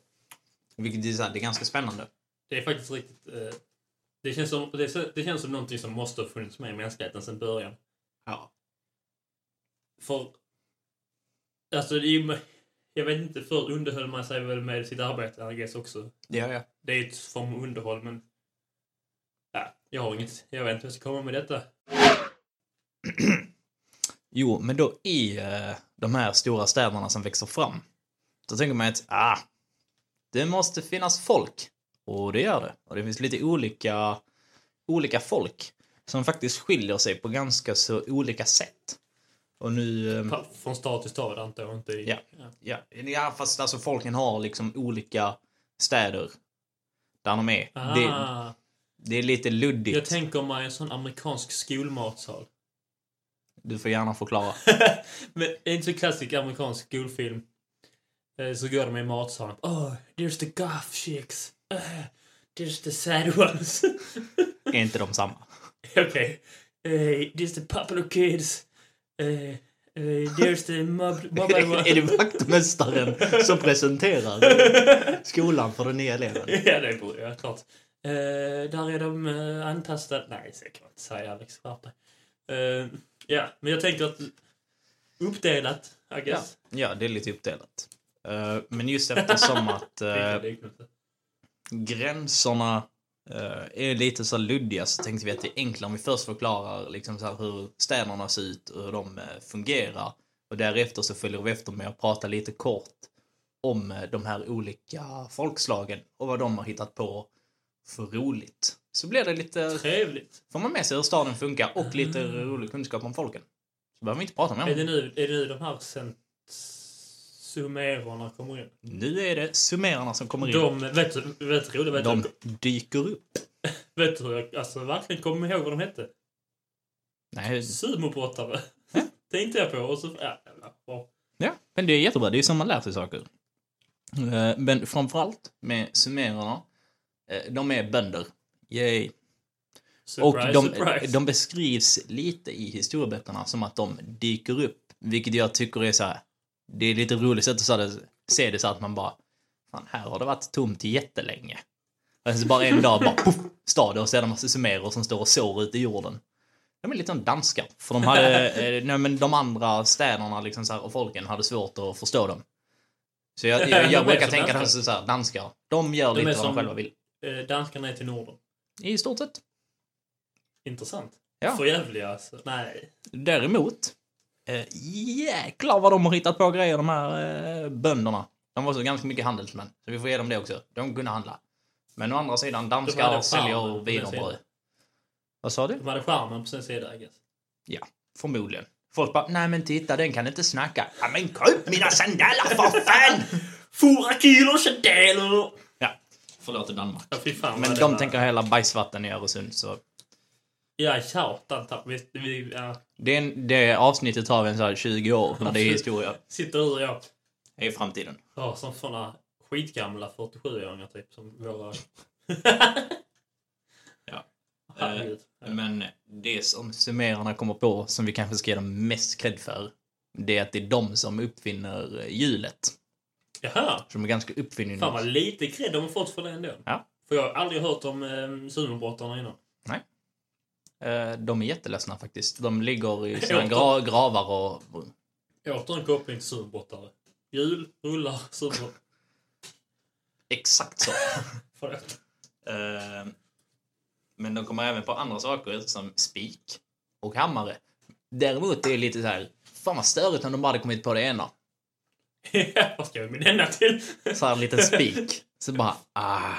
Vilket är, så här, det är ganska spännande. Det är faktiskt riktigt... Eh, det, känns som, det, är så- det känns som någonting som måste ha funnits med i mänskligheten sedan början. Ja. För... Alltså, det är ju... Jag vet inte, förr underhöll man sig väl med sitt arbete, I guess, också. Det gör jag. Det är ett form av underhåll, men... Ja, jag har inget... Jag vet inte hur jag ska komma med detta. Mm. Jo, men då i eh, de här stora städerna som växer fram. Då tänker man att ah, det måste finnas folk. Och det gör det. Och det finns lite olika, olika folk som faktiskt skiljer sig på ganska så olika sätt. Och nu... eh, Pa- Från stad till stad, antar jag. Inte i, Ja. ja, ja, fast alltså folken har liksom olika städer där de är. Ah, Det, det är lite luddigt. jag tänker mig en sån amerikansk skolmatsal. Du får gärna förklara. Men det är inte så klassisk amerikansk skolfilm. Eh, Så går de i matsalen. Oh, there's the goth chicks. Uh, there's the sad ones. är inte de samma? Okej. Eh, there's the popular kids. Eh, eh, there's the mob- mobbed ones. är det vaktmästaren som presenterar skolan för den nya eleven? ja, det borde jag klart. Eh, där är de eh, antastade. Nej, så kan man inte säga Alex. Skärp dig. Eh, Ja, men jag tänker att uppdelat, I Ja, guess. ja det är lite uppdelat. Eh, Men just eftersom att eh, Vilken liknelse. gränserna eh, är lite så luddiga så tänkte vi att det är enklare om vi först förklarar liksom så här hur städerna ser ut och hur de eh, fungerar. Och därefter så följer vi efter med att prata lite kort om eh, de här olika folkslagen och vad de har hittat på för roligt. Så blir det lite Trevligt. får man med sig hur staden funkar och lite rolig kunskap om folken. Så behöver vi inte prata mer Är om det det. nu, är det nu de här sen sumererna kommer in? Nu är det sumerarna som kommer in. De, De, vet du, vet du, vet du, dyker upp. vet du hur jag alltså, verkligen kommer ihåg vad de Mm. hette? Nej, Sumobrottare. Tänkte jag på och så, ja, jävlar, bra. ja, men det är jättebra. Det är ju så man lär sig saker. Eh, Men framförallt med sumerarna, eh, de är bönder. Yay. Surprise, och de, surprise. de beskrivs lite i historieböckerna som att de dyker upp, vilket jag tycker är så här. Det är lite roligt sätt att så här- se det så att man bara, fan här har det varit tomt jättelänge. Alltså bara en dag bara poff, stad och sedan massa sumerer som står och sår ute i jorden. De är lite som danskar, för de hade, eh, nej men de andra städerna liksom så här, och folken hade svårt att förstå dem. Så jag, jag, De är jag brukar som tänka danskar. danskar. så här, danskar, de gör De är lite vad som- de själva vill. Eh, Danskarna är till Norden. I stort sett. Intressant. Ja. För jävliga alltså. Nej. Däremot, eh, jäklar vad de har hittat på grejer de här eh, bönderna. De var så ganska mycket handelsmän, så vi får ge dem det också. De kunde handla. Men å andra sidan, hade danskar charmen säljer på den vin och bröd. sidan. Vad sa du? De hade charmen på sin sida, I guess. Förmodligen. Folk bara, nej men titta den kan inte snacka. Ja men köp mina sandaler för fan! Fyra kilo chandeler! Ja, förlåt Danmark. Ja, fy fan Men vad det de var- tänker hela bajsvatten i Öresund så. Ja, tjatan. tack. Vi, vi ja, Det, är en, det avsnittet tar vi en så här 20 år när det är historia. sitter du och jag Det är framtiden. Ja, som såna skitgamla 47-åringar typ som våra... Ja. Herregud. Ja. Men det som sumererna kommer på, som vi kanske ska ge dem mest cred för, det är att det är de som uppfinner hjulet. Jaha! Som är ganska uppfinning. Fan vad lite cred de har fått för det ändå. Mm. Ja. För jag har aldrig hört om eh, sumobrottarna innan. Eh, De är jätteledsna faktiskt. De ligger i sina Ja. gra- gravar och... Åter en koppling till sumobrottare. Hjul, rullar, sumobrott. Exakt så. Förlåt. Eh, Men de kommer även på andra saker som spik och hammare. Däremot är det lite så här, fan vad störigt om de bara hade kommit på det ena. vad ska vi med denna till? Så här en liten spik. Så bara, ah.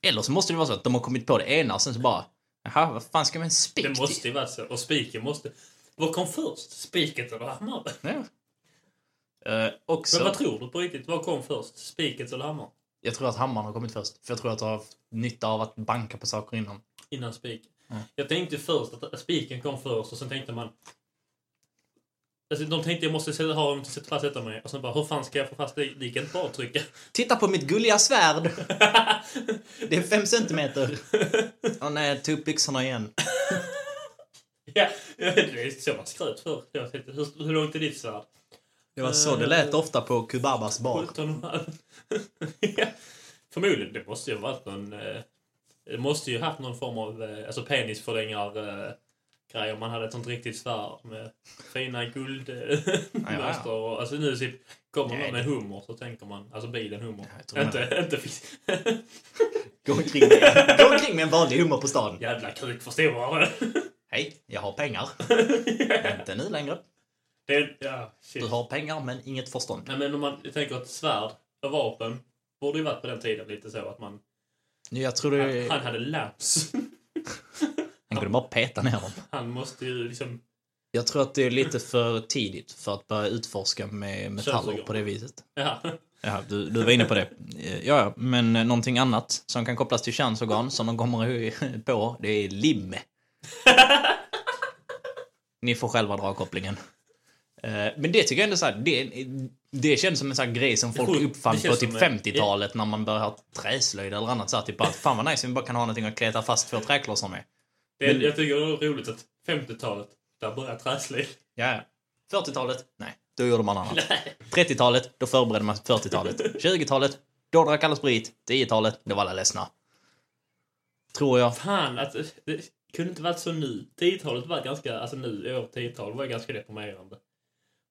Eller så måste det vara så att de har kommit på det ena och sen så bara, jaha, vad fan ska man en spik Det måste ju vara så. Och spiken måste... Vad kom först? Spiket eller hammaren? till? Ja. Eh, Men också, vad tror du på riktigt? Vad kom först? Spiket eller hammaren? jag tror att hammaren har kommit först. För jag tror att jag har haft nytta av att banka på saker innan. Innan spiken. Mm. Jag tänkte först att spiken kom först och sen tänkte man... Alltså, de tänkte jag måste sätta- ha dem till att sätta fast detta med. Och sen bara, hur fan ska jag få fast det? Det gick inte bara att trycka. Titta på mitt gulliga svärd! Det är fem centimeter. Åh nej, ta upp byxorna igen. ja, det är så man skröt förr. Jag tänkte, hur, hur långt är ditt svärd? Det var så det lät ofta på Kubabas bar. 17,5. ja. Förmodligen, det måste ju ha varit någon... Eh, det måste ju haft någon form av eh, alltså penisförlängare eh, grejer. Man hade ett sånt riktigt svärd med fina guldmönster. Eh, ja. mönster och- alltså nu typ, kommer Nej, någon med hummer så tänker man, alltså bilen hummer. jag tror inte, inte fisk. Gå omkring med, gå omkring med en vanlig hummer på stan. Jävla kukförståare. Hej, jag har pengar. Inte nu längre. det är, ja, shit. Du har pengar men inget förstånd. Nej men om man tänker att svärd och vapen borde ju varit på den tiden lite så att man... Nu, jag tror det... Han hade lamps. Han kunde bara peta ner dem. Han måste ju liksom... Jag tror att det är lite för tidigt för att börja utforska med metaller Könsorgan. på det viset. Ja. Ja, du, du var inne på det. Eh, Ja, ja, men eh, någonting annat som kan kopplas till könsorgan som de kommer i- på, det är lim. Ni får själva dra kopplingen. Eh, Men det tycker jag ändå så här, det, det känns som en sån här grej som folk sjukt. uppfann Det på känns typ som, eh, 50-talet när man började ha träslöjd eller annat. Så här, typ bara, fan vad nice om vi bara kan ha någonting att kleta fast två träklossar med. Det är, Men- jag tycker det är roligt att 50-talet, där börjar träslöjd. Ja, ja. 40-talet? Nej, då gjorde man annat. 30-talet? Då förberedde man 40-talet. 20-talet? Då drack alla sprit. 10-talet? Då var alla ledsna. Tror jag. Fan, att, det kunde inte varit så nu. 10-talet var ganska, alltså nu i år 10-talet var ganska deprimerande.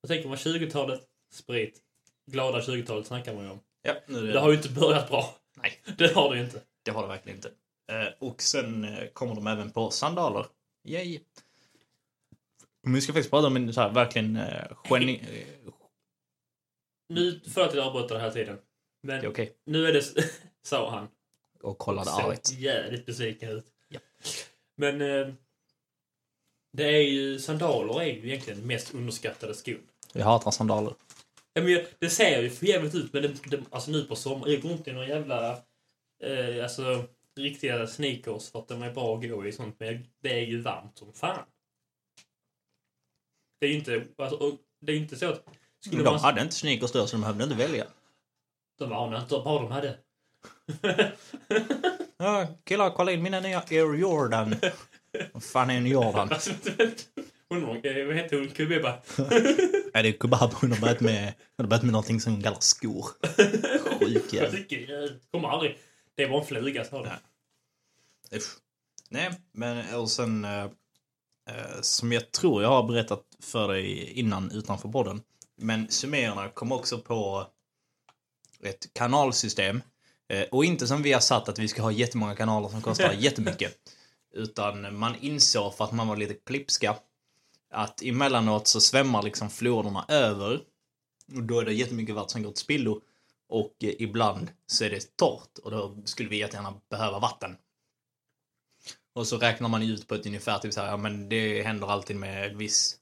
Jag tänker man 20-talet, sprit. Glada 20-talet snackar man ju om. Ja, nu Det har ju inte börjat bra. Nej. Det har det ju inte. det har det verkligen inte. Eh, Och sen eh, kommer de även på sandaler. Yay! Men vi ska faktiskt prata om en så här, verkligen eh, geni... eh, Nu, förlåt att jag avbryter den här tiden. Men Det är okej. nu är det, s- sa han. Och kollade Såg argt. jävligt besviken ut. Ja. Men eh, det är ju, sandaler är ju egentligen mest underskattade skon. Jag hatar sandaler. Ja, men jag- det ser ju för jävligt ut, men det, det, alltså nu på sommaren, jag går inte i några jävla eh, alltså, riktiga sneakers för att de är bra att gå i och sånt, men jag- det är ju varmt som fan. Det är ju inte, alltså, och det är ju inte så att... Skulle De man, hade inte sneakers då, så de behövde inte välja. de var inte bara de hade. Ja, killar, kolla in mina nya Air Jordan. Vad fan är en Jordan? Alltså, Undrar, eh, vad hette hon? Kubeba? Ja, det är kebab. Hon har börjat med, hon har börjat med någonting som hon kallar skor. Sjuk Jag jävel. tycker, jag kommer aldrig... Det var en fluga, sa de. Usch. Nej, men och sen eh, eh, som jag tror jag har berättat för dig innan utanför podden. Men sumererna kom också på ett kanalsystem. Eh, och inte som vi har satt att vi ska ha jättemånga kanaler som kostar jättemycket. Utan man insåg för att man var lite klipska att emellanåt så svämmar liksom floderna över. Och då är det jättemycket vatten som går till spillo. Och eh, ibland så är det torrt och då skulle vi jättegärna behöva vatten. Och så räknar man ut på ett ungefär, typ så här, ja men det händer alltid med ett viss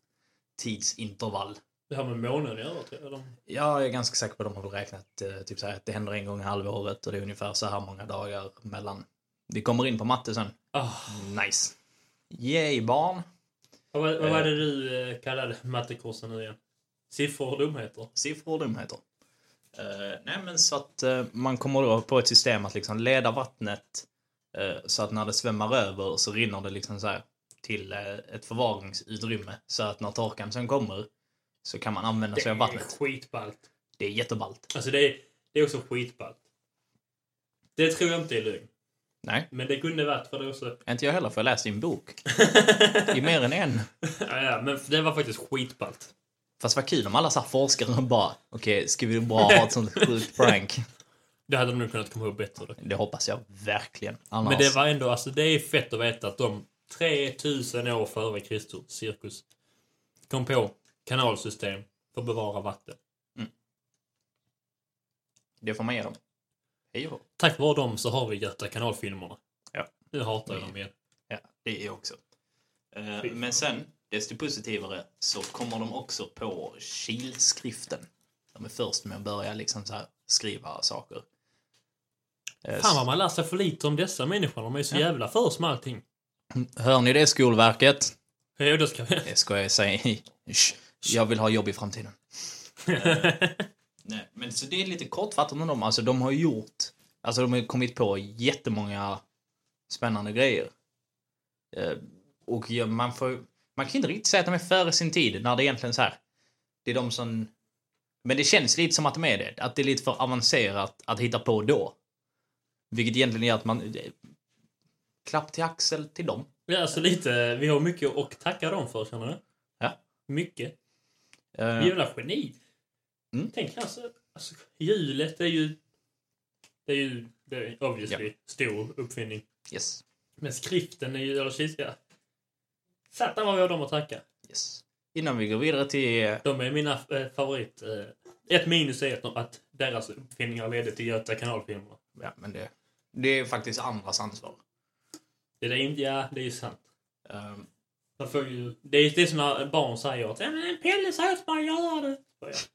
tidsintervall. Det har med månen att göra, tror jag. De, Jag är ganska säker på att de har räknat eh, typ så här, att det händer en gång i halvåret och det är ungefär så här många dagar mellan. Vi kommer in på matte sen. ah, Nice. Yay barn. vad, var- vad var det du eh, kallade mattekursen nu igen? Siffror och dumheter? siffror och dumheter. Eh, nej men så att eh, man kommer då på ett system att liksom leda vattnet Eh, Så att när det svämmar över så rinner det liksom så här till eh, ett förvaringsutrymme. Så att när torkan sen kommer så kan man använda sig av är vattnet. skitballt. Det är jätteballt. Alltså det är, det är också skitballt. Det tror jag inte är lögn. Nej, Men det kunde varit för det också. inte jag heller för jag läste i en bok. I mer än en. ja, ja, men det var faktiskt skitballt. Fast vad kul om alla så här forskare bara okej, ska vi bara ha ett sånt sjukt prank? Det hade de nog kunnat komma ihåg bättre. Då. Det hoppas jag verkligen. Annars, Men det var ändå, alltså det är fett att veta att de 3000 år före Kristus cirkus kom på kanalsystem för att bevara vatten. det får man ge dem. Hej och hå. Tack vare dem så har vi Göta kanalfilmerna. Ja. Nu hatar jag dem igen. Ja, det är jag också. Eh, Men sen, desto positivare, så kommer de också på kilskriften. De är först med att börja liksom så här skriva saker. Eh, Fan vad man lär sig för lite om dessa människor, de är så jävla för oss med allting. Hör ni det, Skolverket? Ja, då ska vi... Det Eh, ska jag säga. Shh. Jag vill ha jobb i framtiden. Nej, men så det är lite kortfattat om dem. Alltså de har gjort, alltså de har kommit på jättemånga spännande grejer. Eh, och ja, man får, man kan inte riktigt säga att de är före sin tid när det är egentligen så här. Det är de som, men det känns lite som att de är det. Att det är lite för avancerat att hitta på då. Vilket egentligen gör att man, eh, klapp till axel till dem. ja, alltså lite, vi har mycket att tacka dem för känner du? Ja. Mycket. Eh, Jävla geni. Mm. Tänk alltså, alltså, hjulet är ju... Det är ju det är obviously stor uppfinning. yes, Men skriften är ju, eller kiskan. Satan vad vi har dem att tacka. yes. Innan vi går vidare till eh, De är mina eh, favorit. Eh, ett minus är att- att deras uppfinningar ledde till Göta kanalfilmerna. Ja, men det, det är faktiskt andras ansvar. Det är inte, ja, det är ju sant. Ehm, Man får ju, det är det är som när barn säger att "Ja, men Pelle sa åt mig att göra det. Så jag,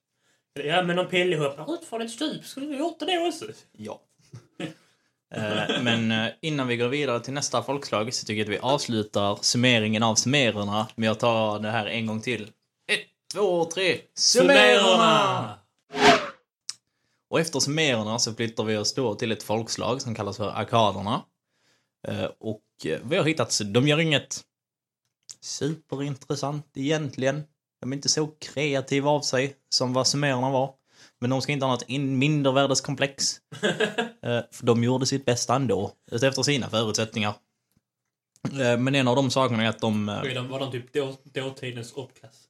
Ja men om Pelle hoppar ut från ett stup typ, skulle vi gjort det då också. ja. Eh, men eh, innan vi går vidare till nästa folkslag så tycker jag att vi avslutar summeringen av summererna med att ta det här en gång till. Ett, två, tre. Summererna! Och efter summererna så flyttar vi oss då till ett folkslag som kallas för arkaderna. Eh, Och eh, vi har hittat, så de gör inget superintressant egentligen. De är inte så kreativa av sig som vad sumererna var. Men de ska inte ha något in- mindervärdeskomplex. Eh, För de gjorde sitt bästa ändå, efter sina förutsättningar. Eh, Men en av de sakerna är att de... eh, Var de, var de typ då, dåtidens opklass?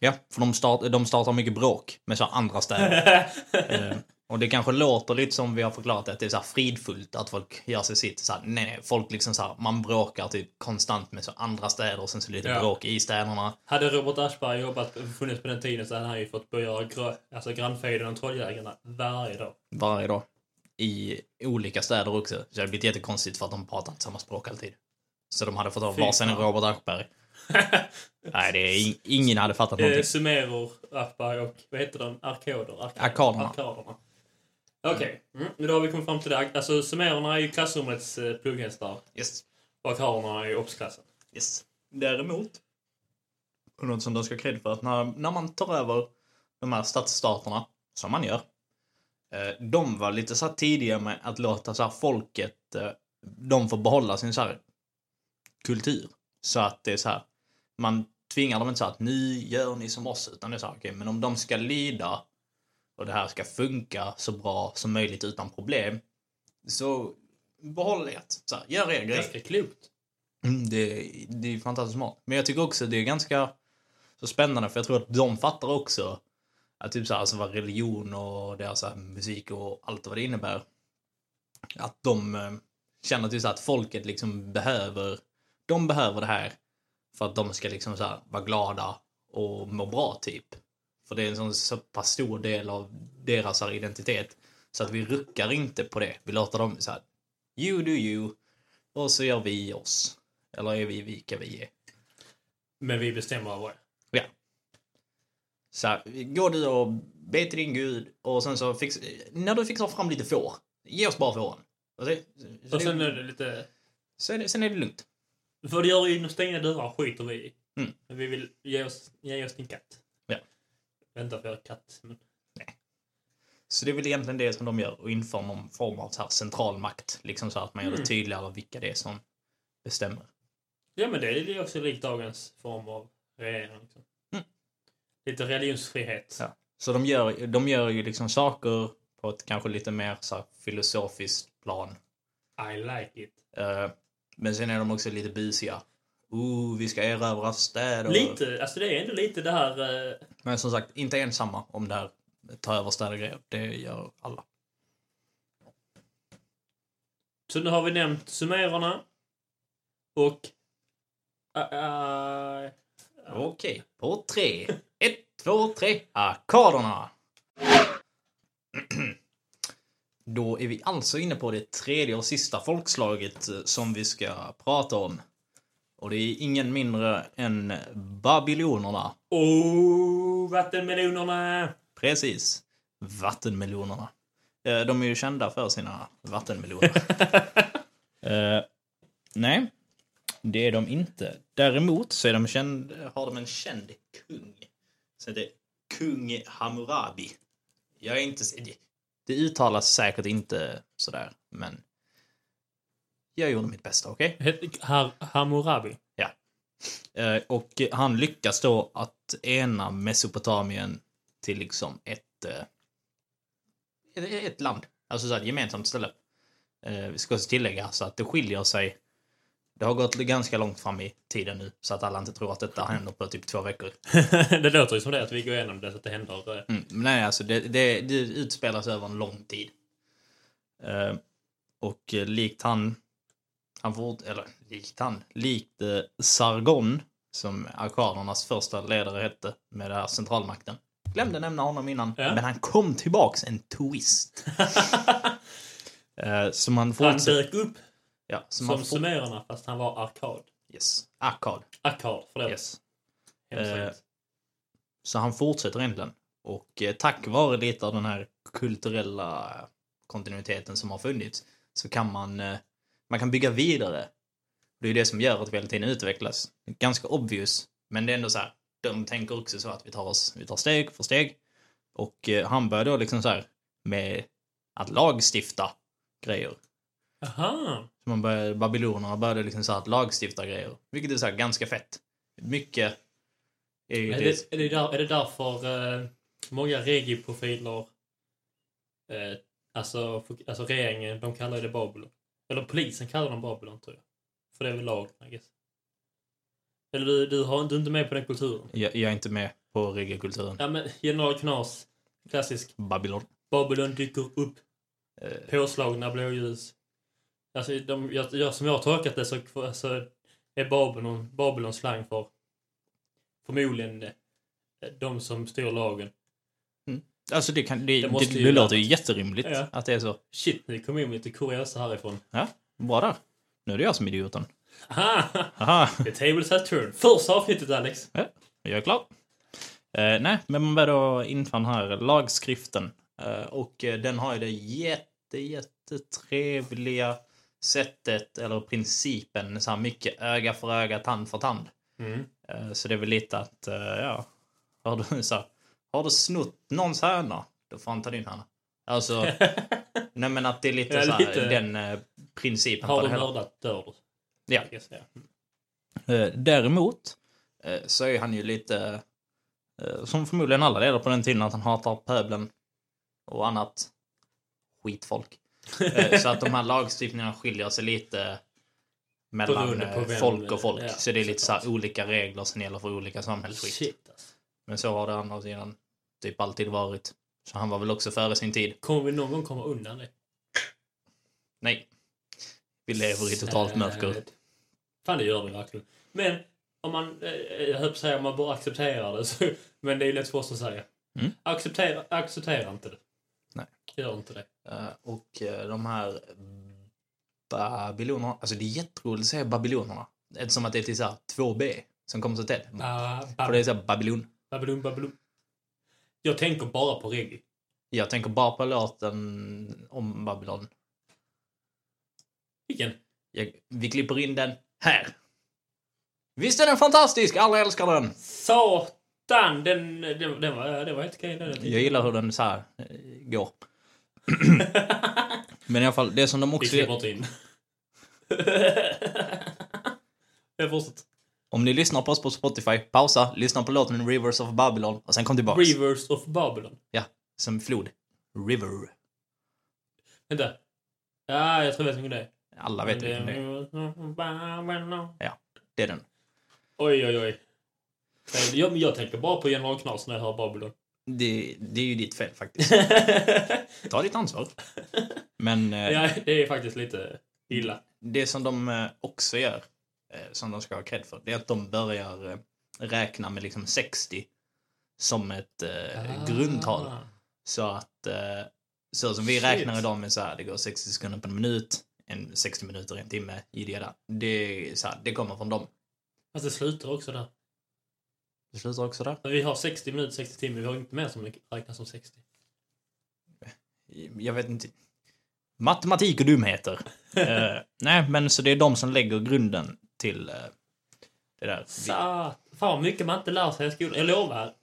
Ja, för de, start, de startar mycket bråk med så här andra städer. eh, och det kanske låter lite som vi har förklarat att det är så här fridfullt att folk gör sig sitt. Så här, nej, nej, folk liksom så här, man bråkar typ konstant med så andra städer och sen så lite Ja. bråk i städerna. Hade Robert Aschberg jobbat, funnits på den tiden så hade han ju fått börja grö, alltså grannfejden och trolljägarna varje dag. Varje dag. I olika städer också. Så det hade blivit jättekonstigt för att de pratar inte samma språk alltid. Så de hade fått ha Fy varsin fan. Robert Aschberg. Nej, det är ing- ingen hade fattat Eh, någonting. Sumeror, Aschberg och vad heter de? Arkoder? Ark- Arkaderna. Arkaderna. Okej, mm. men då har vi kommit fram till det. Alltså sumererna är ju klassrummets eh, plugghästar Yes. och arkaderna är ju obsklassen. Yes. Däremot, och något som de ska ha cred för, att när, när man tar över de här stadsstaterna, som man gör, eh, de var lite så här tidiga med att låta så här folket, eh, de får behålla sin så här kultur. Så att det är så här, man tvingar dem inte så här att nu gör ni som oss, utan det är så här, okej, men om de ska lyda och det här ska funka så bra som möjligt utan problem, så behåll det. Så här, gör er grej. Ganska klokt. Mm, Det, det är ju fantastiskt smart. Men jag tycker också det är ganska så spännande för jag tror att de fattar också att typ så här, alltså vad religion och deras så här, musik och allt vad det innebär. Att de eh, känner typ så här, att folket liksom behöver, de behöver det här för att de ska liksom så här, vara glada och må bra typ. För det är en sån, så pass stor del av deras så här, identitet. Så att vi ruckar inte på det. Vi låter dem så här, you do you och så gör vi oss. Eller är vi vilka vi är. Men vi bestämmer över det. Ja. Så här, gå du och be till din gud och sen så fix, när du fixar fram lite får, ge oss bara fåren. Och det, så, Och sen det, är det lite... så är det, sen är det lugnt. För det gör ju inom stängda dörrar skiter vi i. Mm. Men Vi vill ge oss, ge oss din katt. Ja. Vänta för jag har katt. Men... Så det är väl egentligen det som de gör och inför någon form av så här central makt. Liksom så att man gör det Mm. tydligare vilka det är som bestämmer. Ja, men det är ju också likt dagens form av regering. Liksom. Mm. Lite religionsfrihet. Ja. Så de gör, de gör ju liksom saker på ett kanske lite mer så här filosofiskt plan. I like it. Eh, Men sen är de också lite busiga. Oh, vi ska erövra städer. Lite, alltså det är ändå lite det här... eh, Men som sagt, inte ensamma om det här ta över städer grejer. Det gör alla. Så nu har vi nämnt sumererna. Och... eh, Ä- ä- Okej, på tre. Ett, två, tre. Ackorderna! Då är vi alltså inne på det tredje och sista folkslaget eh, som vi ska prata om. Och det är ingen mindre än babylonierna. oh, vattenmelonerna! Precis. Vattenmelonerna. Eh, De är ju kända för sina vattenmeloner. Eh, nej, det är de inte. Däremot så är de känd, har de en känd kung. Som heter Kung Hammurabi. Jag är inte... det- Det uttalas säkert inte sådär, men... Jag gjorde mitt bästa, okej? Hette- Har- Hammurabi. Eh, Och han lyckas då att ena Mesopotamien till liksom ett, eh, ett, ett land. Alltså så här, ett gemensamt ställe. Eh, Vi ska också tillägga så att det skiljer sig. Det har gått ganska långt fram i tiden nu så att alla inte tror att detta händer på typ två veckor. det låter ju som det att vi går igenom det så att det händer. eh, Mm, men nej, alltså det, det, det utspelas över en lång tid. Eh, och eh, likt han, han fort, eller likt han, likt eh, Sargon, som arkadernas första ledare hette med den här centralmakten. Glömde nämna honom innan, Ja. men han kom tillbaks en twist. eh, som han Han fortsätter... dök upp Ja, som som han fort, sumererna fast han var arkad. yes, arkad. Arkad, förlåt. Yes. Hemskt Eh, sagt. Så han fortsätter egentligen. Och eh, tack vare lite av den här kulturella kontinuiteten som har funnits så kan man, eh, man kan bygga vidare. Det är det som gör att vi hela tiden utvecklas. Ganska obvious, men det är ändå så här. De tänker också så att vi tar, oss, vi tar steg för steg. Och eh, han börjar då liksom så här med att lagstifta grejer. Eh, Aha! Så man började, babylonerna började liksom så här att lagstifta grejer. Vilket är så här ganska fett. Mycket är ju Är det- det, är det, där, är det därför eh, många regiprofiler, eh, alltså, fok- alltså regeringen, de kallar ju det Babylon. Eller polisen kallar dem Babylon tror jag. För det är väl lagen, I guess. Eller du, du, har, du är inte med på den kulturen. Jag, jag är inte med på reggae-kulturen. Ja men General Knas, klassisk. Babylon. Babylon dyker upp, Eh, påslagna blåljus. Alltså, de, jag, jag, som jag har tolkat det så, så är Babylon, Babylon slang för förmodligen eh, de som styr lagen. Alltså det, kan, det, Det det, måste det, ju låter ju vara- jätterimligt Ja. att det är så. Shit, nu kom in lite kuriosa härifrån. Ja, bra där. Nu är det jag som är idioten. Aha! Aha, The tables has turned. Första avsnittet, Alex. jag är klar. Eh, nej, men man börjar då införa den här lagskriften. Eh, och eh, den har ju det jätte, jättetrevliga sättet, eller principen, så här mycket öga för öga, tand för tand. Mm. Eh, Så det är väl lite att, eh, ja, har du, så här, har du snott någons höna, då får han ta din höna. Alltså, nej men att det är lite, Ja, så här, lite. den eh, principen Har på du det hela. mördat dör du. Ja. Jag säga. Eh, Däremot eh, så är han ju lite, eh, som förmodligen alla ledare på den tiden, att han hatar pöbeln och annat skitfolk. Eh, så att de här lagstiftningarna skiljer sig lite mellan Beroende på eh, vem- folk och folk. ja, så det är lite så här såklart. olika regler som gäller för olika samhällsskikt. Shit alltså. Men så har det å andra sidan typ alltid varit. Så han var väl också före sin tid. Kommer vi någon gång komma undan det? Nej. Vi lever i totalt mörker. Sad. Fan, det gör vi verkligen. Men om man, eh, jag höll på att säga, om man bara accepterar det. Så, men det är ju lätt för oss att säga. Mm. Acceptera, acceptera inte det. Nej. Gör inte det. Eh, Och eh, de här babylonerna, alltså det är jätteroligt att säga babylonerna. Eftersom att det är till så här 2B som kommer så tätt. Ba, För ba, det är så här babylon. babylon, babylon. Jag tänker bara på reggae. Jag tänker bara på låten om Babylon. Vilken? Jag, vi klipper in den här. Visst är den fantastisk? Alla älskar den! Satan Fan, den, den, den var, det var helt okej. den jag tyckte. Jag gillar hur den så här eh, går. Men i alla fall, det som de Vi också... klipper inte in. Jag fortsätter. Om ni lyssnar på oss på Spotify, pausa, lyssna på låten Rivers of Babylon och sen kom tillbaks. Reverse of Babylon. Som flod. River. Vänta. Ja, jag tror jag vet vilken det är. Alla vet vilken det är. det. Det är den. Oj, oj, oj. Nej, Jag, men jag tänker bara på General Knas när jag hör Babylon. Det, det är ju ditt fel faktiskt. Ta ditt ansvar. Men eh, ja, det är faktiskt lite illa. det som de eh, också gör, eh, som de ska ha cred för, det är att de börjar eh, räkna med liksom 60 som ett eh, grundtal. Ah. Så att eh, så som vi Shit. räknar idag med så här, det går 60 sekunder på en minut, en 60 minuter, en timme, jidda Det, är så här, det kommer från dem. Fast det slutar också där. Det slutar också där. Men Vi har 60 minuter, 60 timmar. Vi har inte mer som räknas som 60. Jag vet inte. Matematik och dumheter. eh, nej, men så det är de som lägger grunden till eh, det där. Vi- Sa, fan vad mycket man inte lär sig i skolan. Jag lovar.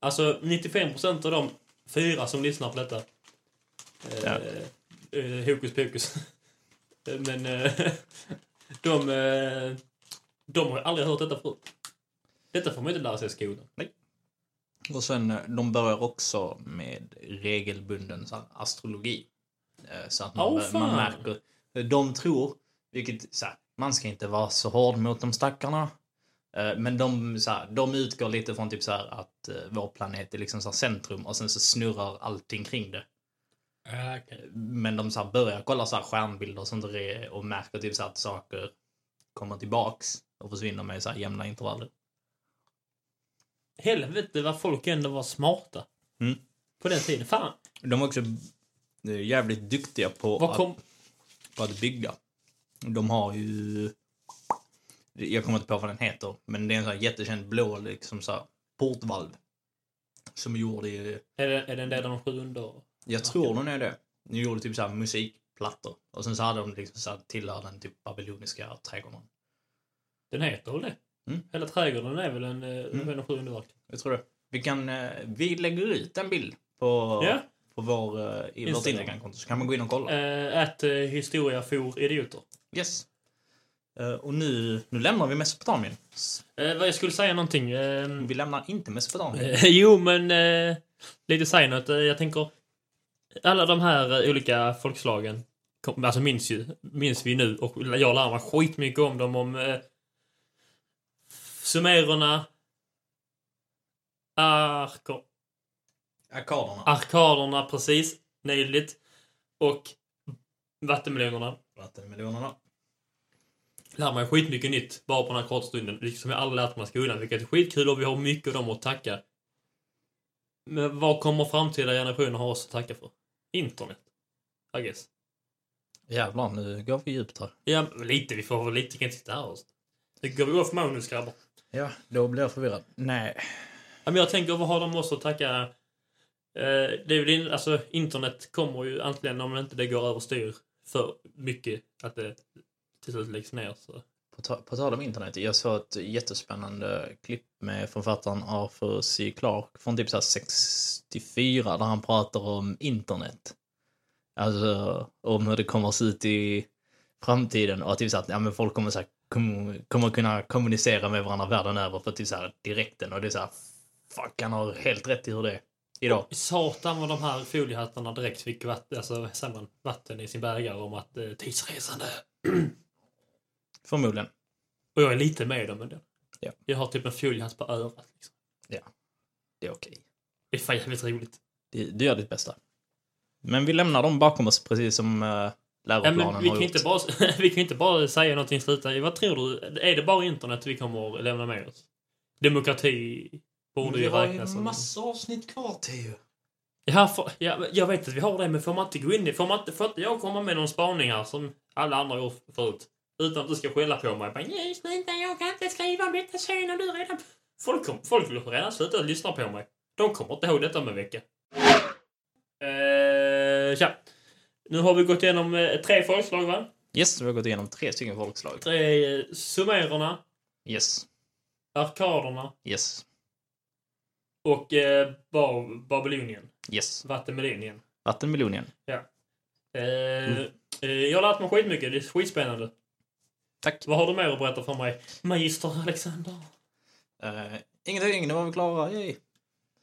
Alltså 95% av de fyra som lyssnar på detta. Eh, Ja. eh, hokus pokus. Eh, Men eh, de, eh, de har ju aldrig hört detta förut. Detta får man ju inte lära sig i skolan. Och sen, eh, de börjar också med regelbunden så här, astrologi. Eh, Så att man, Åh, bör- man fan. märker. De tror, vilket så här, man ska inte vara så hård mot de stackarna. Eh, Men de, så här, de utgår lite från typ så här att eh, vår planet är liksom så här centrum och sen så snurrar allting kring det. Men de så här börjar kolla så här stjärnbilder och sånt där är- och märker typ så här att saker kommer tillbaks och försvinner med så här jämna intervaller. Helvete vad folk ändå var smarta. Mm. På den tiden. Fan, De är också eh, jävligt duktiga på vad att- kom... på att bygga. De har ju... Jag kommer inte på vad den heter, men det är en sån här jättekänd blå liksom så här, portvalv. Som gjorde... ju- Är det, är det en del av de sju under? Jag tror den är det. De gjorde typ så här musikplattor. Och sen så hade de liksom så här tillhör den typ babyloniska trädgården. Den heter väl det? Mm. Hela trädgården är väl en, mm. en av de sju underverken? Jag tror det. Vi kan... eh, Vi lägger ut en bild på, Ja. på vår, eh, i vårt Instagram. Instagramkonto så kan man gå in och kolla. Eh, Att eh, historia for idioter. Yes. Eh, Och nu, nu lämnar vi Mesopotamien. S- Eh, vad jag skulle säga någonting. Eh, Vi lämnar inte Mesopotamien. eh, jo, men eh, lite signet. Eh, jag tänker, alla de här eh, olika folkslagen kom, alltså minns, ju, minns vi nu och jag lär mig skitmycket om dem. Om eh, sumererna, arker, Akaderna. arkaderna precis, nyligt och vattenmelonerna. Vattenmelonerna. lär man ju skitmycket nytt bara på den här korta stunden. Liksom jag aldrig lärt mig i skolan, vilket är skitkul och vi har mycket av dem att tacka. Men vad kommer framtida generationer ha oss att tacka för? Internet? I guess. Jävlar, nu går vi djupt här. Ja, men lite. Vi får väl lite. Vi kan inte sitta här och... Det går vi off manus, grabbar. Ja, då blir jag förvirrad. Nej. Ja, men jag tänker, vad har de oss att tacka? Eh, det är väl in, alltså, internet kommer ju antingen om inte det går överstyr för mycket, att det till slut läggs ner. Så. På, ta- på tal om internet, jag såg ett jättespännande klipp med författaren Arthur C. Clarke från typ så här 64 där han pratar om internet. Alltså om hur det kommer att se ut i framtiden och typ så att ja, men folk kommer, så här, kom, kommer kunna kommunicera med varandra världen över på typ så här direkten och det är så här fuck han har helt rätt i hur det är idag. Satan vad de här foliehattarna direkt fick vatten, alltså, samman vatten i sin bägare om att eh, tidsresande. Förmodligen. Och jag är lite med dem ändå. Ja. Jag har typ en foliehatt på örat. Liksom. Det är okej. Det är fan jävligt roligt. Du, du gör ditt bästa. Men vi lämnar dem bakom oss precis som eh, Ja, läroplanen men vi, har kan gjort. inte bara, vi kan inte bara säga någonting sluta. Vad tror du? Är det bara internet vi kommer att lämna med oss? Demokrati borde ju räknas som... avsnitt kvar, Theo. Ja, för, ja, jag vet att vi har det, men får man inte gå in i... Får, man inte, får inte jag komma med någon spaning här som alla andra gjort förut? Utan att du ska skälla på mig. Bara, Nej, sluta, jag kan inte skriva om detta sen och du redan... Folk, kom, folk har redan slutat lyssna på mig. De kommer inte ihåg detta om en vecka. Eh, tja. Nu har vi gått igenom eh, tre folkslag, va? Yes, vi har gått igenom tre stycken folkslag. Tre eh, sumererna, Yes, arkaderna yes. Och eh, Bar- Babylonien. Yes. Vattenmelonien. Vattenmelonen. Eh, eh, jag har lärt mig skitmycket. Det är skitspännande. Tack. Vad har du mer att berätta för mig? Magister Alexander. Uh, ingenting, nu var vi klara. Yay.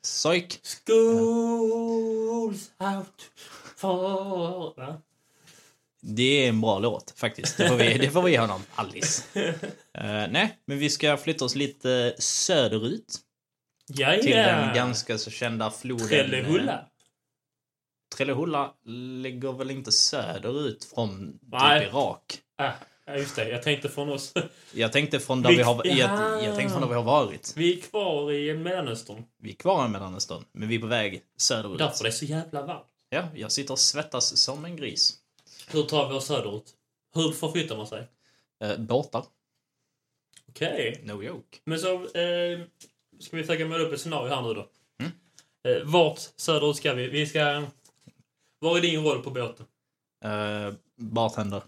Psyk. Schools out for... Va? Det är en bra låt faktiskt. Det får vi, det får vi ge honom. Alice. Eh, nej, men vi ska flytta oss lite söderut. Ja, Till ja. den ganska så kända floden. eh, Trellehulla. Trellehulla ligger väl inte söderut från Nej. typ Irak? Ah, ja, just det. Jag tänkte från oss. Jag tänkte från där Vi- vi har, Ja. jag, jag tänkte från där vi har varit. Vi är kvar i Mellanöstern. Vi är kvar i Mellanöstern, men vi är på väg söderut. Därför det är så jävla varmt. Ja, jag sitter och svettas som en gris. Hur tar vi oss söderut? Hur förflyttar man sig? Eh, båtar. Okej. No joke. Men så... Eh, ska vi försöka måla upp ett scenario här nu då. Mm. Eh, vart söderut ska vi? Vi ska... Vad är din roll på båten? Eh, bartender.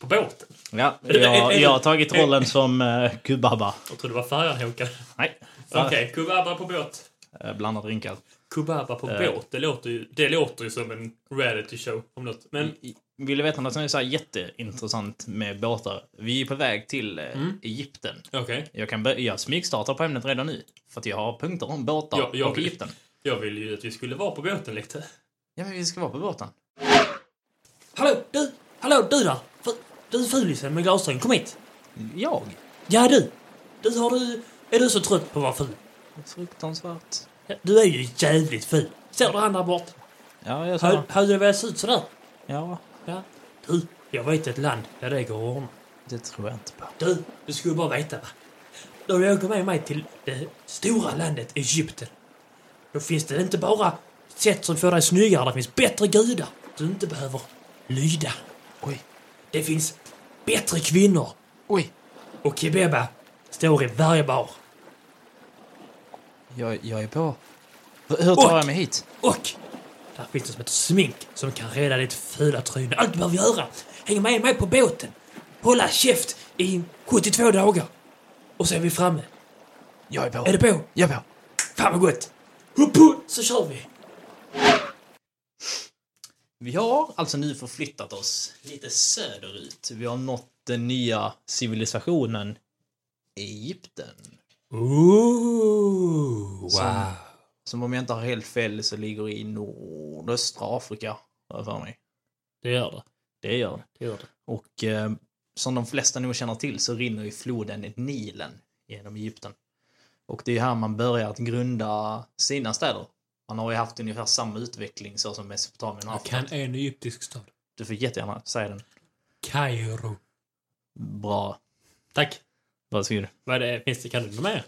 På båten? Ja, det- är jag, det- jag har tagit är det- rollen som eh, kubaba. Jag trodde det var färjan Håkan. Nej. Okej, kubaba på båt. Eh, Blanda drinkar. Kubaba på Eh. båt, det låter, ju, det låter ju som en reality show om något. Men I- Vill du veta något som är så här jätteintressant med båtar? Vi är på väg till eh, Mm. Egypten. okej, Jag, kan bör- jag smygstartar på ämnet redan nu. För att jag har punkter om båtar Ja, jag och vill- Egypten. jag ville ju att vi skulle vara på båten lite. Ja, men vi ska vara på båten. Hallå, du! Hallå, du där! F- Du fulisen med glasögon, kom hit! Jag? Ja, du! Du har du... Är du så trött på att vara ful? Fruktansvärt. Ja, Du är ju jävligt ful. Ser du han där bort? Ja, jag Hade sa... hade det velat se ut sådär? Ja, Ja. Du, jag vet ett land där det går att ordna. det tror jag inte på. Du, du skulle bara veta va. Då du åker med mig till det stora landet Egypten. Då finns det inte bara sätt som får dig snyggare, det finns bättre gudar du inte behöver lyda. Oj. Det finns bättre kvinnor Oj. och kebeba står i varje bar. Jag, jag är på. Hur hur tar Och- jag mig hit? Och där finns det som heter smink som kan rädda ditt fula tryne. Allt du behöver göra, häng med mig på båten, hålla käft i 72 dagar. Och så är vi framme. Jag är på. Är du på? Jag är på. Fan vad gott! Upp, upp, så kör vi! Vi har alltså nu förflyttat oss lite söderut. Vi har nått den nya civilisationen Egypten. Ooh, wow. Som- Som om jag inte har helt fel så ligger i nordöstra Afrika, har jag för mig. Det gör det. Det gör det. det, gör det. Och eh, som de flesta nog känner till så rinner ju floden Nilen genom Egypten. Och det är här man börjar att grunda sina städer. Man har ju haft ungefär samma utveckling så som Mesopotamien har haft. Kan en egyptisk stad. Du får jättegärna säga den. Kairo. Bra. Tack. Varsågod. Vad är det? Finns det? Kan du något mer?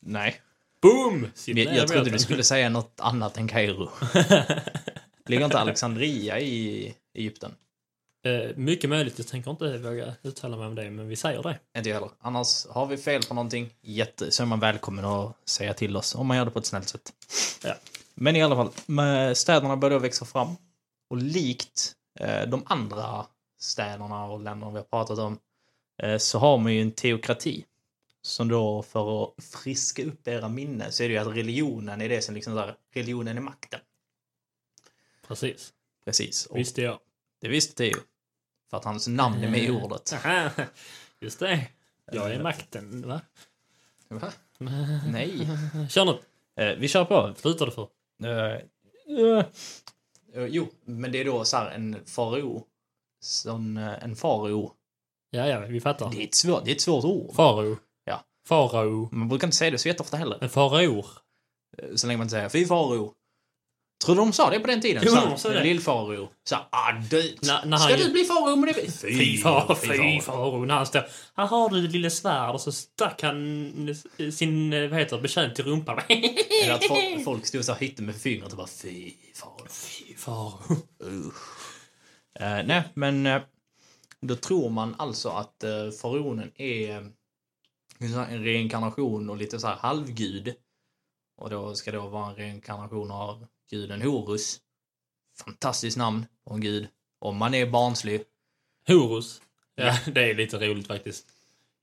Nej. Boom! Sitt Jag, ner i jag trodde båten. du skulle säga något annat än Kairo. Ligger inte Alexandria i Egypten? Eh, mycket möjligt. Jag tänker inte våga uttala mig om det, men vi säger det. Inte jag heller. Annars, har vi fel på någonting, jätte, så är man välkommen att säga till oss. Om man gör det på ett snällt sätt. Ja. Men i alla fall, med- städerna börjar växa fram. Och likt eh, de andra städerna och länderna vi har pratat om eh, så har man ju en teokrati. Som då, för att friska upp era minnen, så är det ju att religionen är det som liksom där, religionen är makten. Precis. Precis. Och Visste jag. det visste Theo. För att hans namn är med i ordet. Aha. Just det. Jag är makten, va? Va? Nej. Kör något. Eh, vi kör på. Slutar du för? Eh, eh, jo, men det är då så här en farao. Som, eh, en farao. Ja, ja, vi fattar. Det är, ett svårt, det är ett svårt ord. Farao. Ja. Farao. Man brukar inte säga det så jätteofta heller. En faraor. Eh, Så länge man inte säger fy farao. Tror du de sa det på den tiden? Jo, Så här, de sa det. Lill-farao. Så här, ah, du, När- när han ska ju- du bli farao med det? Fy far, farao. fy far. När han står... Här har du det lilla svärd och så stack han eh, sin, eh, vad heter det, betjänt i rumpan. Eller att folk, folk stod så här hytte med fingret och bara fy farao. Fy far. Eh, nej, men eh, då tror man alltså att eh, faraonen är eh, en sån här- en reinkarnation och lite så här halvgud. Och då ska det vara en reinkarnation av guden Horus. Fantastiskt namn på en gud. Om man är barnslig. Horus. Ja, det är lite roligt faktiskt.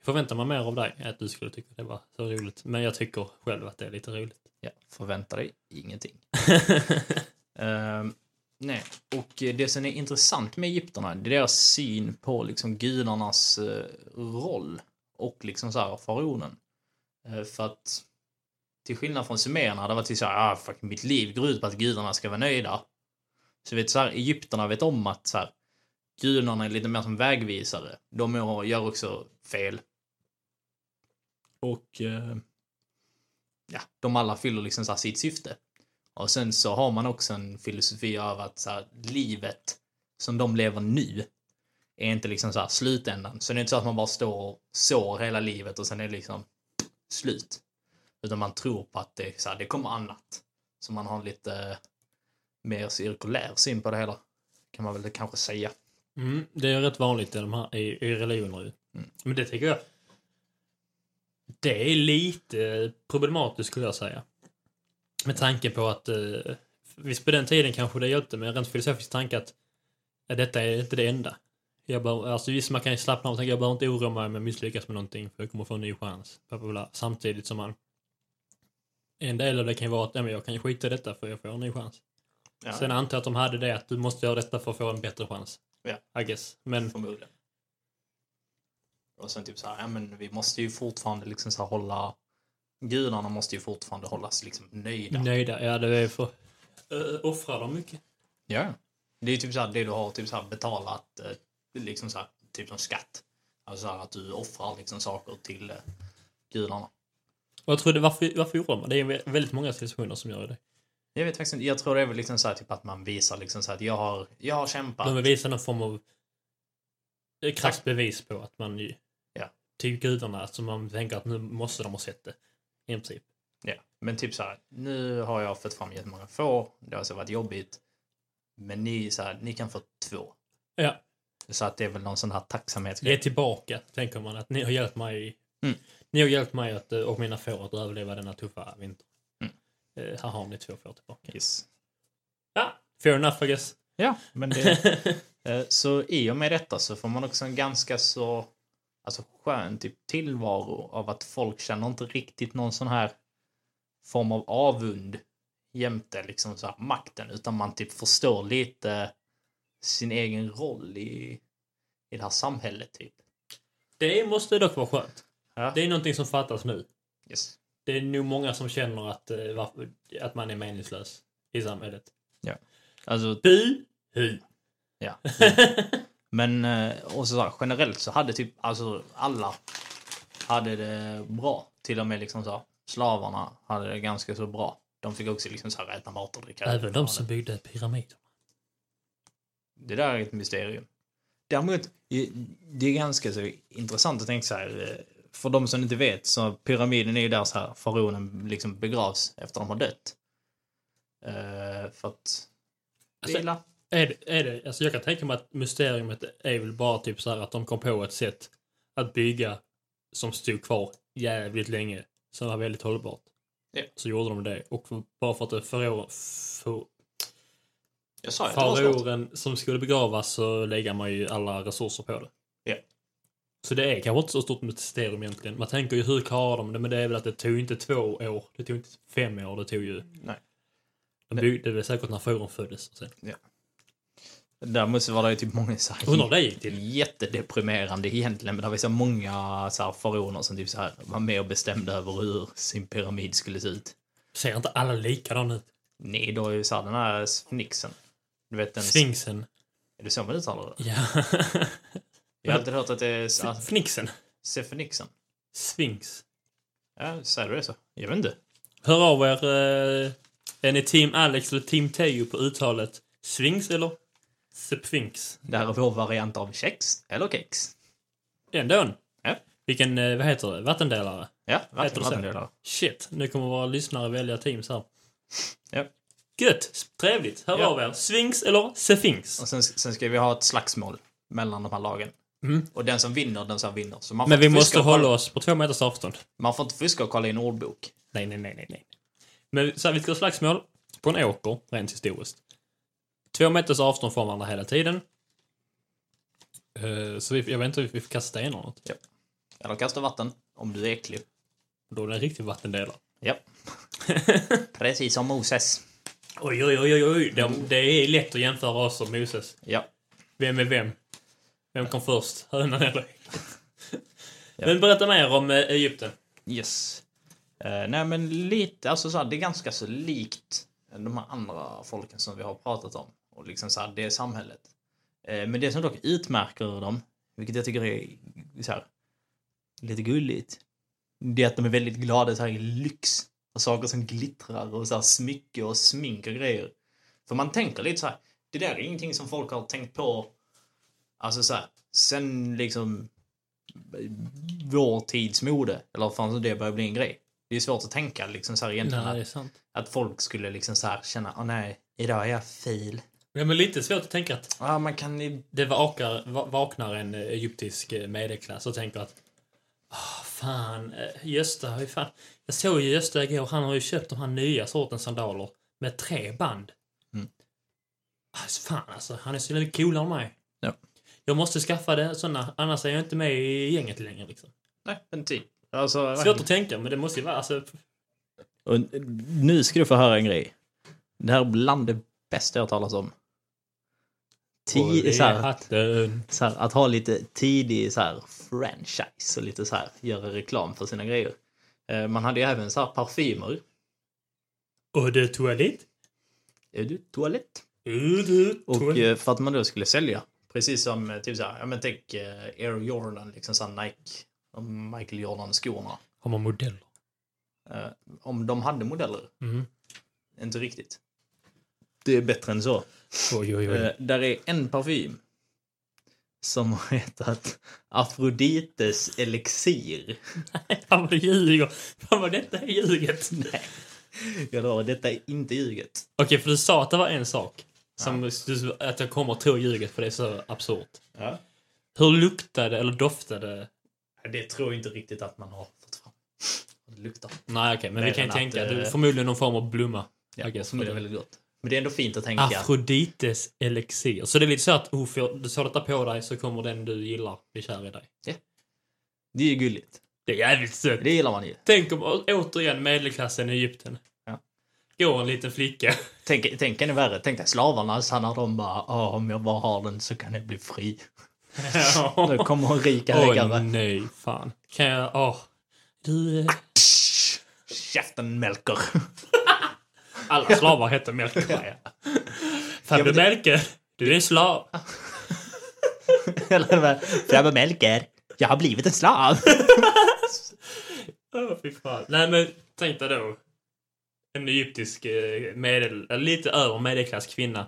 förväntar mig mer av dig, att du skulle tycka det var så roligt. Men jag tycker själv att det är lite roligt. Ja, förvänta dig ingenting. Ehm, nej, och det som är intressant med egyptierna, det är deras syn på liksom gudarnas eh, roll och liksom så här faraonen. Eh, för att till skillnad från sumererna, det var till så här, ah, fuck, mitt liv går ut på att gudarna ska vara nöjda. Så vet så här, egyptierna vet om att så här, gudarna är lite mer som vägvisare. De gör också fel. Och eh, ja, de alla fyller liksom så här sitt syfte. Och sen så har man också en filosofi av att så här, livet som de lever nu är inte liksom så här slutändan. Så det är inte så att man bara står och sår hela livet och sen är det liksom slut. Utan man tror på att det, är så här, det kommer annat. Så man har lite eh, mer cirkulär syn på det hela. Kan man väl kanske säga. Mm, det är rätt vanligt i, de här, i, i religioner ju. Mm. Men det tycker jag... Det är lite problematiskt skulle jag säga. Med tanke på att... Eh, visst på den tiden kanske det hjälpte med en rent filosofisk tanke att eh, detta är inte det enda. Jag bör, alltså visst, man kan ju slappna av och tänka jag behöver inte oroa mig om jag misslyckas med någonting för jag kommer få en ny chans. Bla, bla, bla. Samtidigt som man... En del av det kan ju vara att ja, men jag kan ju skita i detta för jag får en ny chans. Ja, Sen antar jag att de hade det att du måste göra detta för att få en bättre chans. Ja. I guess. Men förmodligen. Och sen typ så här, ja men vi måste ju fortfarande liksom så här hålla gudarna måste ju fortfarande hållas liksom nöjda. nöjda, ja det är för... Uh, offrar de mycket? Ja. Det är typ så här, det du har typ så här betalat eh, liksom så här, typ som skatt. Alltså så här, att du offrar liksom saker till eh, gudarna. Och jag trodde, varför, varför gjorde de det? Det är vä- väldigt många civilisationer som gör det. Jag vet faktiskt inte, jag tror det är väl liksom så här typ att man visar liksom så här att jag har, jag har kämpat. De vill visa någon form av eh, krasst bevis på att man ju... Ja. Till gudarna, alltså man tänker att nu måste de ha sett det. I princip. Ja, men typ så här, nu har jag fått fram jättemånga får, det har alltså varit jobbigt. Men ni, så här, ni kan få två. Ja. Så att det är väl någon sån här tacksamhetsgrej. Ge tillbaka, tänker man att ni har hjälpt mig. Mm. Ni har hjälpt mig att, eh, och mina får att överleva denna tuffa vinter. Mm. Eh, här har ni två får tillbaka. Yes. Ja, fair enough I guess. Ja, men det... Eh, Så i och med detta så får man också en ganska så alltså skön typ tillvaro av att folk känner inte riktigt någon sån här form av avund jämte liksom så här makten utan man typ förstår lite sin egen roll i, i det här samhället typ. Det måste dock vara skönt. Ja. Det är någonting som fattas nu. Yes. Det är nog många som känner att, eh, varför- att man är meningslös i samhället. Alltså, Bu! Hu! ja. Men eh, och så här, generellt så hade typ alltså alla hade det bra. Till och med liksom så här, slavarna hade det ganska så bra. De fick också liksom så här, äta mat och dricka. Även de som byggde pyramider. Det där är ett mysterium. Däremot, eh, det är ganska så intressant att tänka så här. eh, För de som inte vet så pyramiden är ju där så här faraonen liksom begravs efter de har dött. Eh, för att Alltså- vila. Är det, är det, alltså jag kan tänka mig att mysteriet är väl bara typ så här att de kom på ett sätt att bygga som stod kvar jävligt länge, som var väldigt hållbart. Ja. Så gjorde de det. Och för, bara för att det förå- för, Jag sa ju att det var svårt. faraoren som skulle begravas så lägger man ju alla resurser på det. Ja. Så det är kanske inte så stort mysterium egentligen. Man tänker ju hur klarar de det? Men det är väl att det tog inte två år, det tog inte fem år, det tog ju... Nej. De byggde väl säkert när faraon föddes. och Sen. Däremot så var det ju typ många så här Undrar hur det gick till. jättedeprimerande egentligen, men det var så många så här faraoner som typ så här var med och bestämde över hur sin pyramid skulle se ut. Ser inte alla likadana ut? Nej, då är ju så här den här sfinxen. Du vet den... Sfinxen. Är det så man uttalar det? Ja. Jag har alltid hört att det är så- att- Fnixen. sfinxen. Sphinx. Ja, säger du det så? Jag vet inte. Hör av er. Eh, är ni team Alex eller team Teo på uttalet? Sphinx eller? Sphinx. Det här är vår variant av kex, eller kex. Ändå. Ja. Vilken, eh, vad heter det, vattendelare? Ja, Heter det verkligen. så? vattendelare. Shit, nu kommer våra lyssnare välja teams här. Ja. Gött! Trevligt! Hör Ja. av er. Sphinx eller Sphinx? Och sen, sen ska vi ha ett slagsmål mellan de här lagen. Mm. Och den som vinner, den som vinner. Så man får Men vi inte fuska måste och kolla- hålla oss på två meters avstånd. Man får inte fuska och kolla i en ordbok. Nej, nej, nej, nej, nej. Men så här, vi ska ha slagsmål på en åker, rent historiskt. Två meters avstånd från varandra hela tiden. Eh, Så vi, jag vet inte, vi får kasta stenar eller något. Ja. Eller kasta vatten, om du är äcklig. Då är det en riktig vattendelare. Ja. Precis som Moses. Oj, oj, oj, oj, oj. De, det är lätt att jämföra oss och Moses. Ja. Vem är vem? Vem kom först? Hönan eller ägget? Ja. Men berätta mer om eh, Egypten. Yes. Eh, nej men lite, alltså så här, det är ganska så likt de här andra folken som vi har pratat om. Och liksom så här, det är samhället. Eh, men det som dock utmärker dem, vilket jag tycker är så här, lite gulligt, det är att de är väldigt glada så här, i lyx. Och saker som glittrar och så här, smycke och smink och grejer. För man tänker lite så här, det där är ingenting som folk har tänkt på, alltså så här, sen liksom eh, vår tids mode. Eller fanns det börjar bli en grej. Det är svårt att tänka liksom så här egentligen. Nej, det är att, sant. att folk skulle liksom så här känna, åh nej, idag är jag fil. Ja, men lite svårt att tänka att Ja, man kan ju... det vakar, va- vaknar en eh, egyptisk eh, medelklass och tänker att ah fan, eh, Gösta har ju fan... Jag såg ju Gösta igår, han har ju köpt de här nya sortens sandaler med tre band. Mm. Alltså, fan alltså, han är så lite coolare än mig. Ja. Jag måste skaffa det såna, annars är jag inte med i gänget längre. Liksom. Nej, men typ. Alltså, Svårt att tänka, men det måste ju vara... Alltså, och nu ska du få höra en grej. Det här är bland det bästa jag har talat om. Tio, så här, hatten. så här, att ha lite tidig så här, franchise och lite så här, göra reklam för sina grejer. Eh, Man hade ju även så här parfymer. Och det är toalett. Är du toalett? Och det är Och toalett. eh, för att man då skulle sälja. Precis som eh, typ så här, ja men tänk eh, Air Jordan, liksom så här Nike, och Michael Jordan-skorna. Har man modeller? Eh, Om de hade modeller, Mm. inte riktigt. Det är bättre än så. Oj, oj, oj. Eh, Där är en parfym som har hetat Afrodites elixir. Fan vad du ljuger. Fan vad detta är ljuget. Nej, jag lovar, detta är inte ljuget. Okej, för du sa att det var en sak. Som du, att jag kommer att tro ljuget för det är så absurt. Ja. Hur luktade eller doftade... Det tror jag inte riktigt att man har fått fram. Det luktar. Nej okej, men Mer vi kan ju än tänka. att, det är eh, Förmodligen någon form av blomma. Ja, I guess, men det är för det. väldigt gott. Men det är ändå fint att tänka. Afrodites elixir. Så det är lite så att oh, för du sa detta på dig så kommer den du gillar bli kär i dig. Det är ju gulligt. Det är jävligt sött. Det gillar man ju. Tänk om å- återigen medelklassen i Egypten. Ja. Går en liten flicka. Tänk, tänk ännu värre. Tänk dig slavarna så när de bara "Ja, om jag bara har den så kan jag bli fri. Nu kommer en rik Åh ägare. nej, fan. Kan jag... Åh. Du... eh, Psh, Käften Melker. Alla slavar heter Melker. Ja. Fan Ja, du men det- Melker, du är en slav. Eller vad? Frabbe Melker. Jag har blivit en slav. Åh fy fan. Nej men tänk dig då. En egyptisk eh, medel... eller Lite över medelklass kvinna.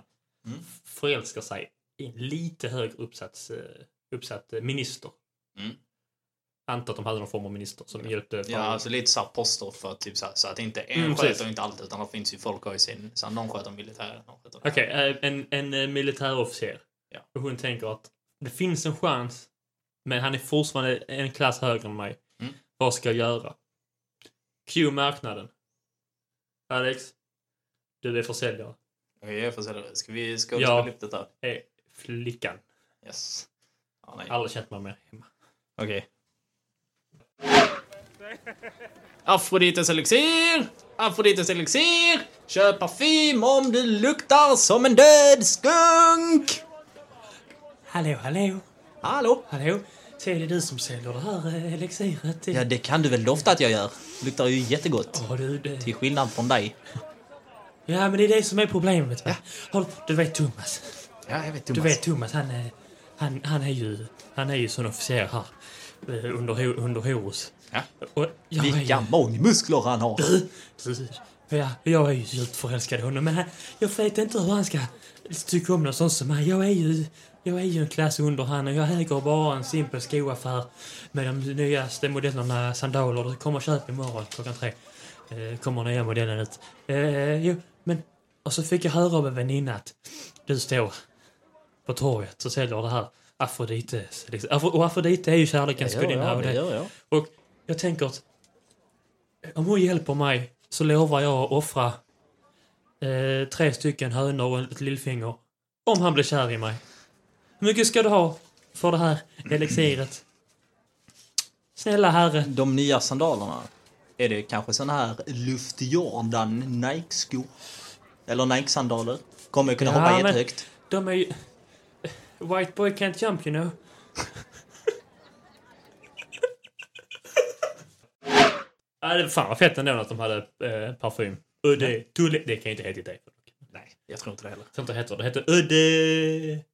Mm. Förälskar sig i en lite högre uppsats, eh, uppsatt eh, minister. Mm. Antar att de hade någon form av minister som hjälpte. Ja, alltså lite såhär poster för typ såhär, så att inte en Mm, sköter precis. inte allt utan det finns ju folk har ju sin, så någon sköter militären, någon sköter Okej, eh, en, en eh, militärofficer. Ja. Och hon tänker att det finns en chans, men han är fortfarande en klass högre än mig. Mm. Vad ska jag göra? Q marknaden. Alex, du är försäljare. Okej, jag får se det. Ska vi ska vi Ja. spela upp detta? Är flickan. Yes. Ja, nej. Aldrig känt mig mer hemma. Okej. Afrodites elixir! Afrodites elixir! Köp parfym om du luktar som en död skunk! Hallå, hallå, Hallå? hallå. Så är det du som säljer det här eh, elixiret? Ja, det kan du väl lofta att jag gör? Luktar ju jättegott. Ja, du, det... Till skillnad från dig. ja, men det är det som är problemet. Va? Har- Du vet Thomas. Ja, jag vet Du vet Thomas, han är, han, han är ju, han är ju sån officer här. eh, Under, ho- under Horus. Ja. Och jag är Vilka ju, magmuskler han har! Precis. ja, jag är ju djupt förälskad i honom, men han- jag vet inte hur han ska tycka om någon sån som mig. Jag är ju, jag är ju en klass under han och jag äger bara en simpel skoaffär med de nyaste modellerna sandaler. Du kommer köp imorgon klockan tre. Eh, kommer nya modellen ut. Eh, jo, men... Och så fick jag höra av en väninna att du står på torget och säljer det här Afrodite. Liksom. Afro- Och Afrodite är ju kärlekens gudinna. och det- jag. och jag tänker att om hon hjälper mig så lovar jag att offra eh, tre stycken hönor och ett lillfinger. Om han blir kär i mig. Hur mycket ska du ha för det här elixiret? Snälla herre. De nya sandalerna. Är det kanske såna här Luft Jordan Nike-skor? Eller Nike-sandaler? Kommer jag kunna Ja, hoppa men- jättehögt? De är ju... White boy can't jump you know. ja, det fan vad fett ändå att de hade eh, parfym. Udde... Tulle... Det kan ju inte heta det. Nej, jag tror inte det heller. Sånt där heter det. Det heter Udde...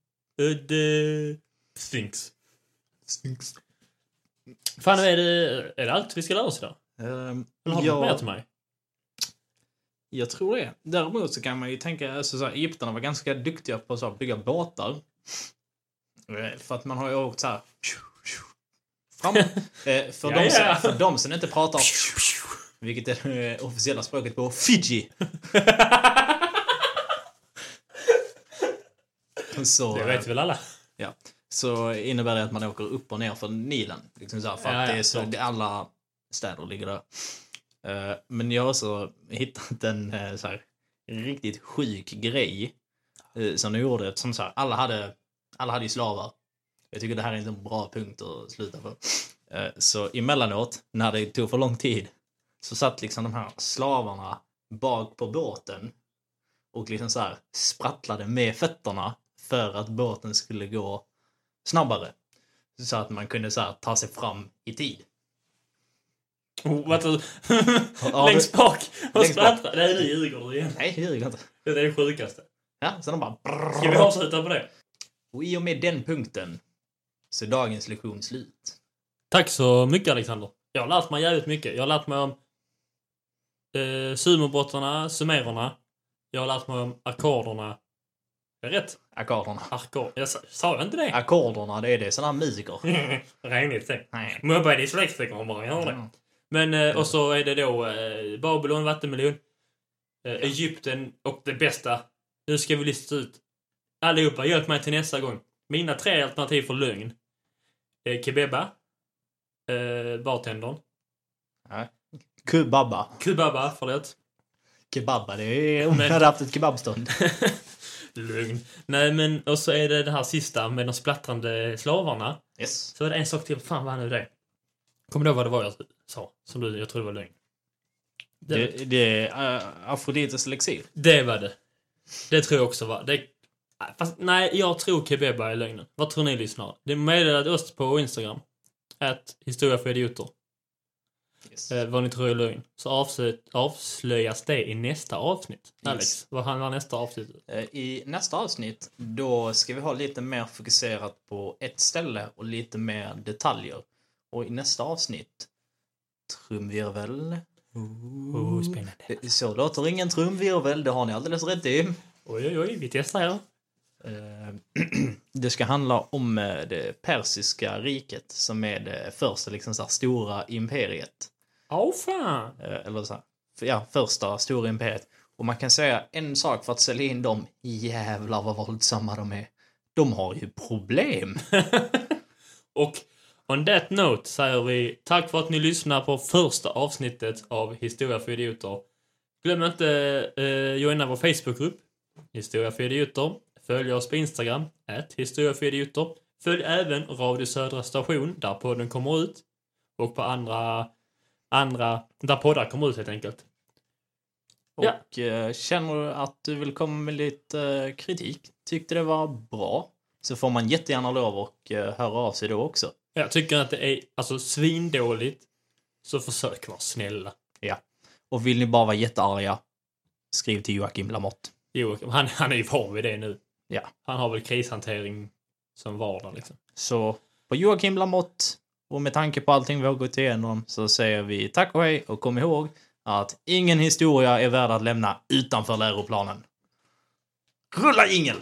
Udde... Sphinx. Sphinx. Fan, är det, är det allt vi ska lära oss idag? Ehm, Eller har du något mer jag, till mig? jag tror det. Däremot så kan man ju tänka, alltså så här, egyptierna var ganska duktiga på så här, att bygga båtar. Eh, För att man har ju åkt så här... Fram. Eh, för, Ja, de som, ja. för de som inte pratar, vilket är det officiella språket på Fiji, så... Det eh, vet väl alla? Ja. Så innebär det att man åker upp och ner för Nilen. Liksom så här, för Ja, att ja, det är så, klart. det- alla städer ligger där. Eh, men jag har också hittat en eh, så här, riktigt sjuk grej eh, som de gjorde. Som så här, alla, hade, alla hade ju slavar. Jag tycker det här är inte en bra punkt att sluta på. Eh, så emellanåt, när det tog för lång tid, så satt liksom de här slavarna bak på båten och liksom så här sprattlade med fötterna för att båten skulle gå snabbare. Så att man kunde så här ta sig fram i tid. Oh, what the... har du- Längst bak! Och Längst bak. sprattlar. Nej, nu ljuger du igen. Nej, det ljuger inte. Det är det sjukaste. Ja, så de bara... Ska vi avsluta på det? Och i och med den punkten så är dagens lektion slut. Tack så mycket Alexander. Jag har lärt mig jävligt mycket. Jag har lärt mig om eh, sumobrottarna, sumererna. Jag har lärt mig om ackorderna. Det är rätt. Ackorderna. Ackord. Jag sa, sa jag inte det? Ackorderna, det är det sådana här musiker. Renligt det. Nej. Mobba är dyslektiker om bara gör Mm. det. Men eh, och så är det då eh, Babylon, vattenmelon, eh, Egypten och det bästa. Nu ska vi lista ut. Allihopa, hjälp mig till nästa gång. Mina tre alternativ för lögn. Eh, kebeba. Eh, bartendern. Kubabba. Kubaba, förlåt. Kebabba, det är om jag hade haft ett kebabstånd. Lugn. Nej men, och så är det det här sista med de splattrande slavarna. Yes. Så är det en sak till. Fan vad är nu det? Kommer du ihåg vad det var jag sa? Som du, jag tror det var lögn. Det, det är äh, Afrodites elixir. Det var det. Det tror jag också var. Det... Fast nej, jag tror Kebeba är lögnen. Vad tror ni lyssnare? Det meddelade oss på Instagram. Att historia för idioter. Yes. Eh, vad ni tror är lögn. Så avslö... avslöjas det i nästa avsnitt. Alex, Yes. vad handlar nästa avsnitt om? Eh, I nästa avsnitt då ska vi ha lite mer fokuserat på ett ställe och lite mer detaljer. Och i nästa avsnitt trumvirvel. Oh, spännande. Eh, Så låter ingen trumvirvel, det har ni alldeles rätt i. Oj, oj, oj, vi testar här. Eh, Det ska handla om eh, det persiska riket som är det första liksom så här, stora imperiet. Åh fan! Eh, eller så här, för- ja, första stora imperiet. Och man kan säga en sak för att sälja in dem, jävlar vad våldsamma de är. De har ju problem. Och on that note säger vi tack för att ni lyssnar på första avsnittet av Historia för idioter. Glöm inte eh, joina vår Facebookgrupp, Historia för idioter. Följ oss på Instagram, at Historia för idioter. Följ även Radio Södra Station, där podden kommer ut. Och på andra, andra, där poddar kommer ut helt enkelt. Ja. Och eh, känner du att du vill komma med lite eh, kritik, tyckte det var bra, så får man jättegärna lov och eh, höra av sig då också. Jag tycker att det är alltså svindåligt, så försök vara snälla. Och vill ni bara vara jättearga, skriv till Joakim Lamotte. Joakim, han, han är ju van vid det nu. Ja. Han har väl krishantering som vardag liksom. Så på Joakim Lamotte, och med tanke på allting vi har gått igenom, så säger vi tack och hej och kom ihåg att ingen historia är värd att lämna utanför läroplanen. Rulla jingel!